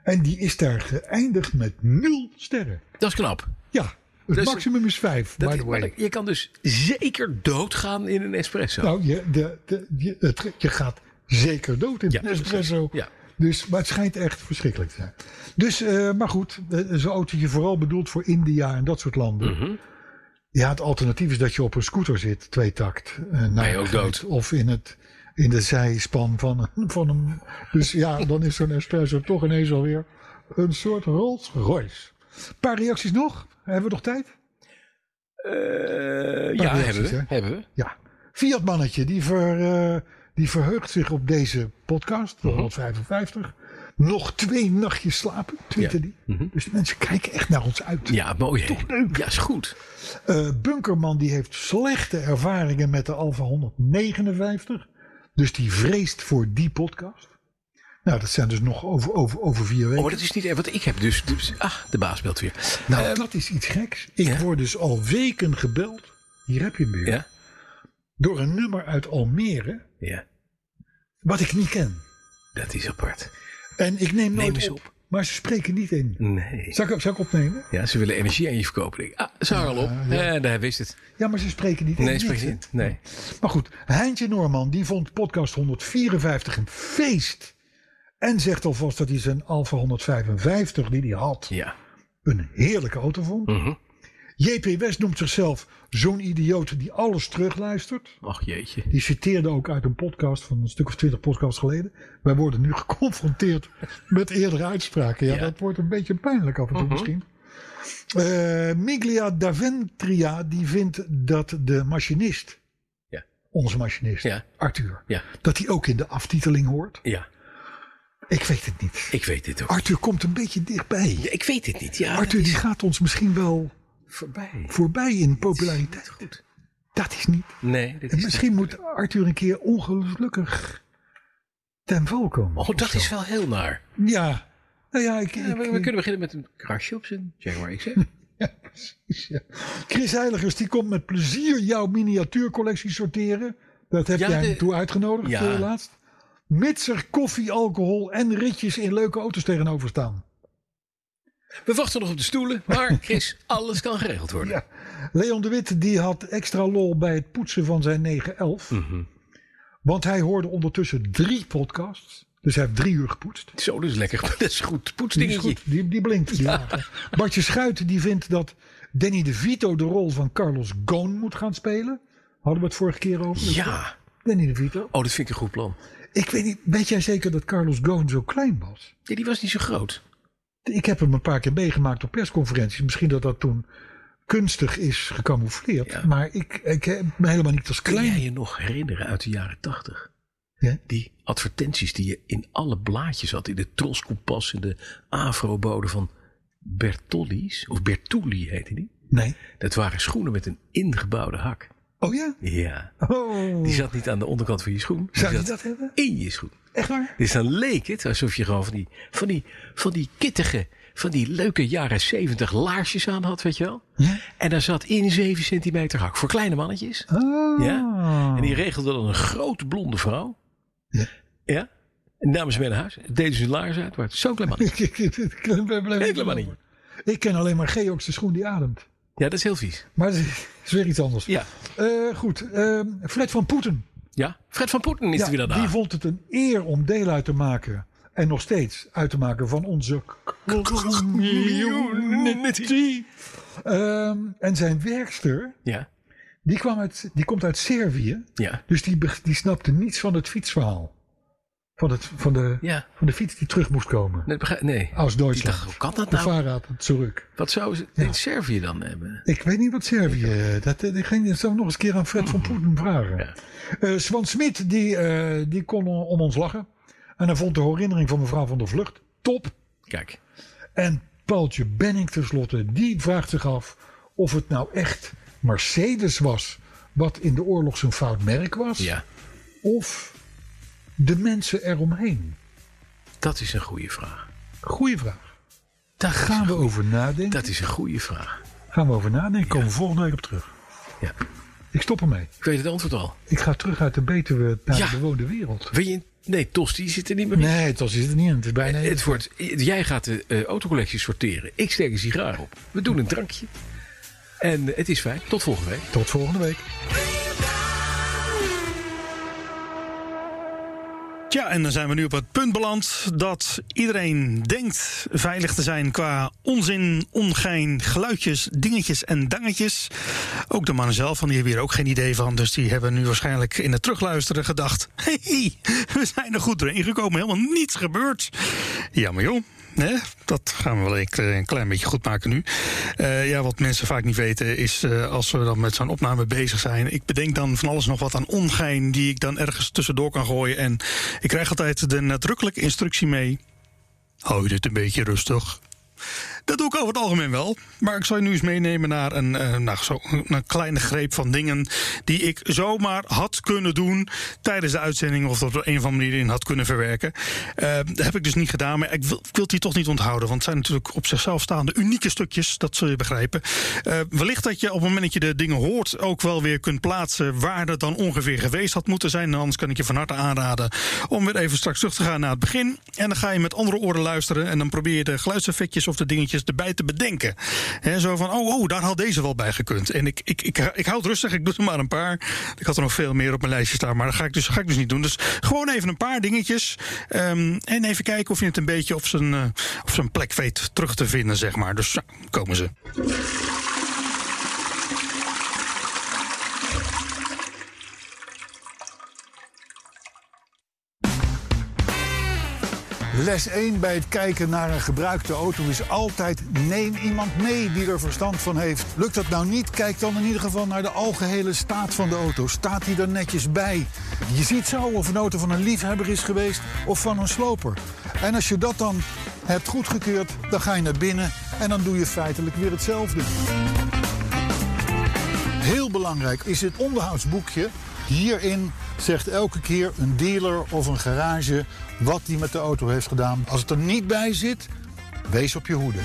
Speaker 2: En die is daar geëindigd met nul sterren.
Speaker 5: Dat is knap.
Speaker 2: Ja, het
Speaker 5: Dus-
Speaker 2: maximum is vijf,
Speaker 5: Dat
Speaker 2: by
Speaker 5: is-
Speaker 2: the way.
Speaker 5: maar je kan dus zeker doodgaan in een espresso.
Speaker 2: Nou, je, de, de, je, het- je gaat zeker dood in
Speaker 5: Ja,
Speaker 2: een espresso.
Speaker 5: precies. Ja.
Speaker 2: Dus, maar het schijnt echt verschrikkelijk te zijn. Dus, eh, maar goed, eh, zo'n autootje vooral bedoeld voor India en dat soort landen.
Speaker 5: Mhm.
Speaker 2: Ja, het alternatief is dat je op een scooter zit, tweetakt. eh, naar
Speaker 5: je ook
Speaker 2: de
Speaker 5: dood.
Speaker 2: geit, Of in, het, in de zijspan van, een- van een... Dus
Speaker 5: (laughs)
Speaker 2: ja, dan is zo'n espresso toch ineens alweer een soort Rolls Royce. Een paar reacties nog. Hebben we nog tijd?
Speaker 5: Eh, ja,
Speaker 2: reacties,
Speaker 5: hebben we.
Speaker 2: hè?
Speaker 5: Hebben we.
Speaker 2: Ja, Fiat-mannetje, die, ver, eh, die verheugt zich op deze podcast,
Speaker 5: Mhm.
Speaker 2: de 155. Nog twee nachtjes slapen, twitterde die. Dus de mensen kijken echt naar ons uit.
Speaker 5: Mhm. Ja, mooi. hè? Ja, is goed.
Speaker 2: Eh, Bunkerman die heeft slechte ervaringen met de Alfa 159. Dus die vreest voor die podcast. Nou, dat zijn dus nog over, over, over vier weken.
Speaker 5: Oh, maar dat is niet erg, want ik heb dus... dus ah, de baas belt weer. Eh,
Speaker 2: nou, dat is iets geks. Ik
Speaker 5: ja.
Speaker 2: word dus al weken gebeld. Hier heb je hem weer.
Speaker 5: Ja?
Speaker 2: Door een nummer uit Almere,
Speaker 5: Ja,
Speaker 2: wat ik niet ken.
Speaker 5: dat is apart.
Speaker 2: En ik neem nooit
Speaker 5: Neem eens
Speaker 2: op,
Speaker 5: op.
Speaker 2: Maar ze spreken niet in.
Speaker 5: Nee.
Speaker 2: Zal ik, zal ik opnemen?
Speaker 5: Ja, ze willen energie aan je verkopen. denk ik. Ah, ze hangen al op. En hij wist het.
Speaker 2: Ja, maar ze spreken niet in.
Speaker 5: Nee, spreekt
Speaker 2: Niks,
Speaker 5: niet. Nee.
Speaker 2: hè? Maar goed, Heintje Norman die vond podcast 154 een feest. En zegt alvast dat hij zijn Alfa 155 die hij had
Speaker 5: Ja. Mhm.
Speaker 2: een heerlijke auto vond. JP West noemt zichzelf zo'n idioot die alles terugluistert.
Speaker 5: Ach jeetje.
Speaker 2: Die citeerde ook uit een podcast van een stuk of twintig podcasts geleden. Wij worden nu (laughs) geconfronteerd met eerdere uitspraken. Ja,
Speaker 5: Ja. Mhm.
Speaker 2: dat wordt een beetje pijnlijk af en toe misschien. Eh, Miglia Daventria die vindt dat de machinist,
Speaker 5: Ja.
Speaker 2: onze machinist,
Speaker 5: Ja.
Speaker 2: Arthur,
Speaker 5: Ja.
Speaker 2: dat hij ook in de aftiteling hoort.
Speaker 5: Ja.
Speaker 2: Ik weet het niet.
Speaker 5: Ik weet dit ook.
Speaker 2: Arthur komt een beetje dichtbij.
Speaker 5: Ja, ik weet dit niet. Ja,
Speaker 2: Arthur die gaat ons misschien wel
Speaker 5: voorbij.
Speaker 2: voorbij in populariteit.
Speaker 5: Goed.
Speaker 2: Dat is niet.
Speaker 5: Nee, dit
Speaker 2: En
Speaker 5: is
Speaker 2: misschien moet Arthur een keer ongelukkig ten val komen.
Speaker 5: Oh, dat is wel heel naar.
Speaker 2: Ja. Nou ja, ik,
Speaker 5: Ja, we,
Speaker 2: ik,
Speaker 5: we
Speaker 2: ik-
Speaker 5: kunnen beginnen met een krasje op zijn Jaguar (laughs) XF.
Speaker 2: ja. Chris Heiligers die komt met plezier jouw miniatuurcollectie sorteren. Dat heb
Speaker 5: Ja,
Speaker 2: jij hem
Speaker 5: de-
Speaker 2: toe uitgenodigd
Speaker 5: Ja.
Speaker 2: eh, laatst. Mits er koffie, alcohol en ritjes in leuke auto's tegenover staan.
Speaker 5: We wachten nog op de stoelen, maar (laughs) Chris, alles kan geregeld worden.
Speaker 2: Ja. Leon de Wit die had extra lol bij het poetsen van zijn 911.
Speaker 5: Mhm.
Speaker 2: Want hij hoorde ondertussen drie podcasts. Dus hij heeft drie uur gepoetst.
Speaker 5: Zo, dus lekker. (laughs) Dat is een goed.
Speaker 2: Die is
Speaker 5: Poetsdingetje.
Speaker 2: goed. Die, die blinkt. Die later. Bartje Schuit die vindt dat Danny DeVito de rol van Carlos Ghosn moet gaan spelen. Hadden we het vorige keer over.
Speaker 5: Ja.
Speaker 2: Danny DeVito.
Speaker 5: Oh, dat vind ik een goed plan.
Speaker 2: Ik weet niet, weet jij zeker dat Carlos Ghosn zo klein was?
Speaker 5: Ja, die was niet zo groot.
Speaker 2: Ik heb hem een paar keer meegemaakt op persconferenties. Misschien dat dat toen kunstig is gecamoufleerd.
Speaker 5: Ja.
Speaker 2: Maar ik, ik heb me helemaal niet als
Speaker 5: Kun
Speaker 2: klein.
Speaker 5: jij je nog herinneren uit de jaren tachtig?
Speaker 2: Ja.
Speaker 5: Die advertenties die je in alle blaadjes had. In de Troskompas, in de Afrobode van Bertolli's. Of Bertulli heette die.
Speaker 2: Nee.
Speaker 5: Dat waren schoenen met een ingebouwde hak.
Speaker 2: Oh ja?
Speaker 5: Ja.
Speaker 2: Oh.
Speaker 5: Die zat niet aan de onderkant van je schoen.
Speaker 2: Zou
Speaker 5: die
Speaker 2: je
Speaker 5: zat
Speaker 2: dat hebben?
Speaker 5: in je schoen.
Speaker 2: Echt waar?
Speaker 5: Dus dan leek het alsof je gewoon van die, van die, van die kittige, van die leuke jaren zeventig laarsjes aan had, weet je wel.
Speaker 2: Ja.
Speaker 5: En daar zat in 7 centimeter hak voor kleine mannetjes.
Speaker 2: Ah.
Speaker 5: Ja. En die regelde dan een grote blonde vrouw.
Speaker 2: Ja.
Speaker 5: Ja. En namen ze mee naar huis. Deden ze hun laars uit. Waar het zo'n klein
Speaker 2: (laughs)
Speaker 5: mannetje.
Speaker 2: Hele
Speaker 5: Helemaal niet.
Speaker 2: Ik ken alleen maar Georgs de schoen die ademt.
Speaker 5: Ja, dat is heel vies.
Speaker 2: Maar dat is weer iets anders.
Speaker 5: Ja.
Speaker 2: Eh, goed, ehm, Fred van Poeten.
Speaker 5: Ja. Fred van Poeten is
Speaker 2: Ja,
Speaker 5: er weer
Speaker 2: die
Speaker 5: daar.
Speaker 2: vond het een eer om deel uit te maken. En nog steeds uit te maken van onze community. Ehm, en zijn werkster,
Speaker 5: Ja.
Speaker 2: die, kwam uit, die komt uit Servië.
Speaker 5: Ja.
Speaker 2: Dus die, be- die snapte niets van het fietsverhaal. Van, het, van, de,
Speaker 5: Ja.
Speaker 2: van de fiets die terug moest komen.
Speaker 5: Nee. begrijp- nee.
Speaker 2: Als
Speaker 5: Ik dacht, hoe
Speaker 2: Duitsland.
Speaker 5: kan dat
Speaker 2: De
Speaker 5: nou?
Speaker 2: vaarraad terug.
Speaker 5: Wat zouden ze in Servië dan hebben?
Speaker 2: Ik weet niet wat Servië. eh, Dat, eh, ik ging, dat zou ik nog eens een keer aan Fred van Poeten vragen.
Speaker 5: Mhm. Ja.
Speaker 2: Eh, Swan Smit die, eh, die kon o- om ons lachen. En hij vond de herinnering van mevrouw van der Vlucht top.
Speaker 5: Kijk.
Speaker 2: En Paultje Benning tenslotte, die vraagt zich af of het nou echt Mercedes was. Wat in de oorlog zo'n fout merk was.
Speaker 5: Ja.
Speaker 2: Of de mensen eromheen.
Speaker 5: Dat is een goede vraag.
Speaker 2: Goeie vraag.
Speaker 5: Daar gaan
Speaker 2: Gaan we over nadenken?
Speaker 5: Dat is een goede vraag.
Speaker 2: Gaan we over nadenken? Komen we volgende week op terug.
Speaker 5: Ja.
Speaker 2: Ik stop ermee.
Speaker 5: Ik weet het antwoord al.
Speaker 2: Ik ga terug uit de Betuwe naar
Speaker 5: Ja.
Speaker 2: de bewoonde wereld.
Speaker 5: Wil je... Nee, Tosti zit er niet meer in.
Speaker 2: Nee, het was het niet. Het is bijna
Speaker 5: Het wordt, jij gaat de eh, autocollectie sorteren. Ik steek een sigaar op. We doen een drankje. En eh, het is fijn. Tot volgende week.
Speaker 2: Tot volgende week.
Speaker 6: Ja, en dan zijn we nu op het punt beland dat iedereen denkt veilig te zijn qua onzin, ongein, geluidjes, dingetjes en dangetjes. Ook de mannen zelf, van die hebben hier ook geen idee van. Dus die hebben nu waarschijnlijk in het terugluisteren gedacht: (laughs) hé, hey, we zijn er goed doorheen gekomen, helemaal niets gebeurd. Jammer joh. Hè? Dat gaan we wel een kle- een klein beetje goed maken nu. Eh, ja, wat mensen vaak niet weten is eh, als we dan met zo'n opname bezig zijn. Ik bedenk dan van alles nog wat aan ongein die ik dan ergens tussendoor kan gooien. En ik krijg altijd de nadrukkelijke instructie mee. Hou je dit een beetje rustig. Dat doe ik over het algemeen wel. Maar ik zal je nu eens meenemen naar een, eh, nou, zo, een kleine greep van dingen. die ik zomaar had kunnen doen. tijdens de uitzending. of er op een of andere manier in had kunnen verwerken. Eh, dat heb ik dus niet gedaan. Maar ik wil, ik wil het hier toch niet onthouden. Want het zijn natuurlijk op zichzelf staande unieke stukjes. Dat zul je begrijpen. Eh, wellicht dat je op het moment dat je de dingen hoort. ook wel weer kunt plaatsen. waar dat dan ongeveer geweest had moeten zijn. En anders kan ik je van harte aanraden. om weer even straks terug te gaan naar het begin. En dan ga je met andere oren luisteren. en dan probeer je de geluidseffectjes of de dingetjes erbij te bedenken. Hè, zo van, oh, oh, daar had deze wel bij gekund. En ik, ik, ik, ik hou het rustig, ik doe er maar een paar. Ik had er nog veel meer op mijn lijstje staan, maar dat ga ik dus, ga ik dus niet doen. Dus gewoon even een paar dingetjes. ehm, en even kijken of je het een beetje op zijn, eh, op zijn plek weet terug te vinden, zeg maar. Dus nou, komen ze.
Speaker 7: Les 1 bij het kijken naar een gebruikte auto is altijd neem iemand mee die er verstand van heeft. Lukt dat nou niet? Kijk dan in ieder geval naar de algehele staat van de auto. Staat die er netjes bij? Je ziet zo of een auto van een liefhebber is geweest of van een sloper. En als je dat dan hebt goedgekeurd, dan ga je naar binnen en dan doe je feitelijk weer hetzelfde. Heel belangrijk is het onderhoudsboekje. Hierin zegt elke keer een dealer of een garage wat die met de auto heeft gedaan. Als het er niet bij zit, wees op je hoede.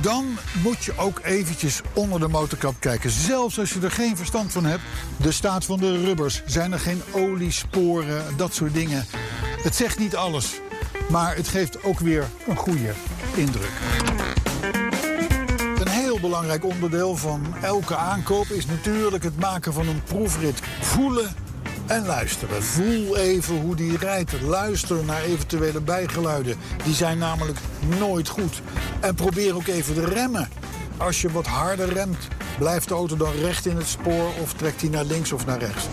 Speaker 7: Dan moet je ook eventjes onder de motorkap kijken. Zelfs als je er geen verstand van hebt. De staat van de rubbers. Zijn er geen oliesporen? Dat soort dingen. Het zegt niet alles.
Speaker 2: Maar het geeft ook weer een goede indruk. Een heel belangrijk onderdeel van elke aankoop is natuurlijk het maken van een proefrit. Voelen en luisteren. Voel even hoe die rijdt. Luister naar eventuele bijgeluiden. Die zijn namelijk nooit goed. En probeer ook even te remmen. Als je wat harder remt, blijft de auto dan recht in het spoor of trekt hij naar links of naar rechts.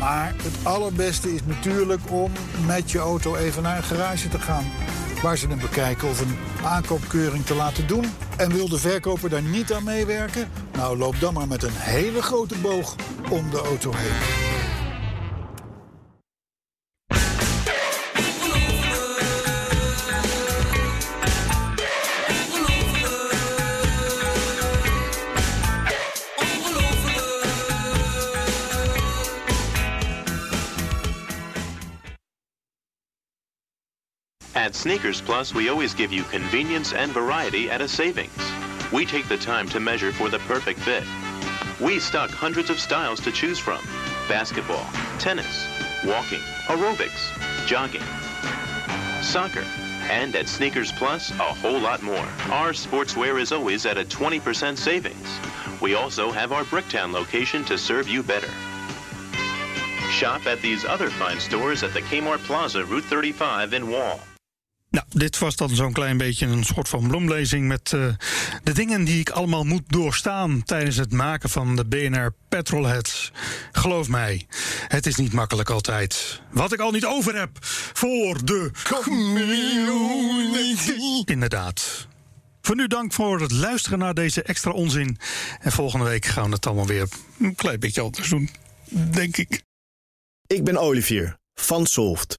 Speaker 2: Maar het allerbeste is natuurlijk om met je auto even naar een garage te gaan. Waar ze hem bekijken of een aankoopkeuring te laten doen. En wil de verkoper daar niet aan meewerken? Nou, loop dan maar met een hele grote boog om de auto heen.
Speaker 8: At Sneakers Plus, we always give you convenience and variety at a savings. We take the time to measure for the perfect fit. We stock hundreds of styles to choose from basketball, tennis, walking, aerobics, jogging, soccer, and at Sneakers Plus, a whole lot more. Our sportswear is always at a 20% savings. We also have our Bricktown location to serve you better. Shop at these other fine stores at the Kmart Plaza, Route 35 in Wall.
Speaker 6: Nou, dit was dan zo'n klein beetje een soort van bloemlezing met eh, de dingen die ik allemaal moet doorstaan tijdens het maken van de BNR Petrolheads. Geloof mij, het is niet makkelijk altijd. Wat ik al niet over heb voor de community. Inderdaad. Voor nu dank voor het luisteren naar deze extra onzin. En volgende week gaan we het allemaal weer een klein beetje anders doen, denk ik.
Speaker 9: Ik ben Olivier van Solft.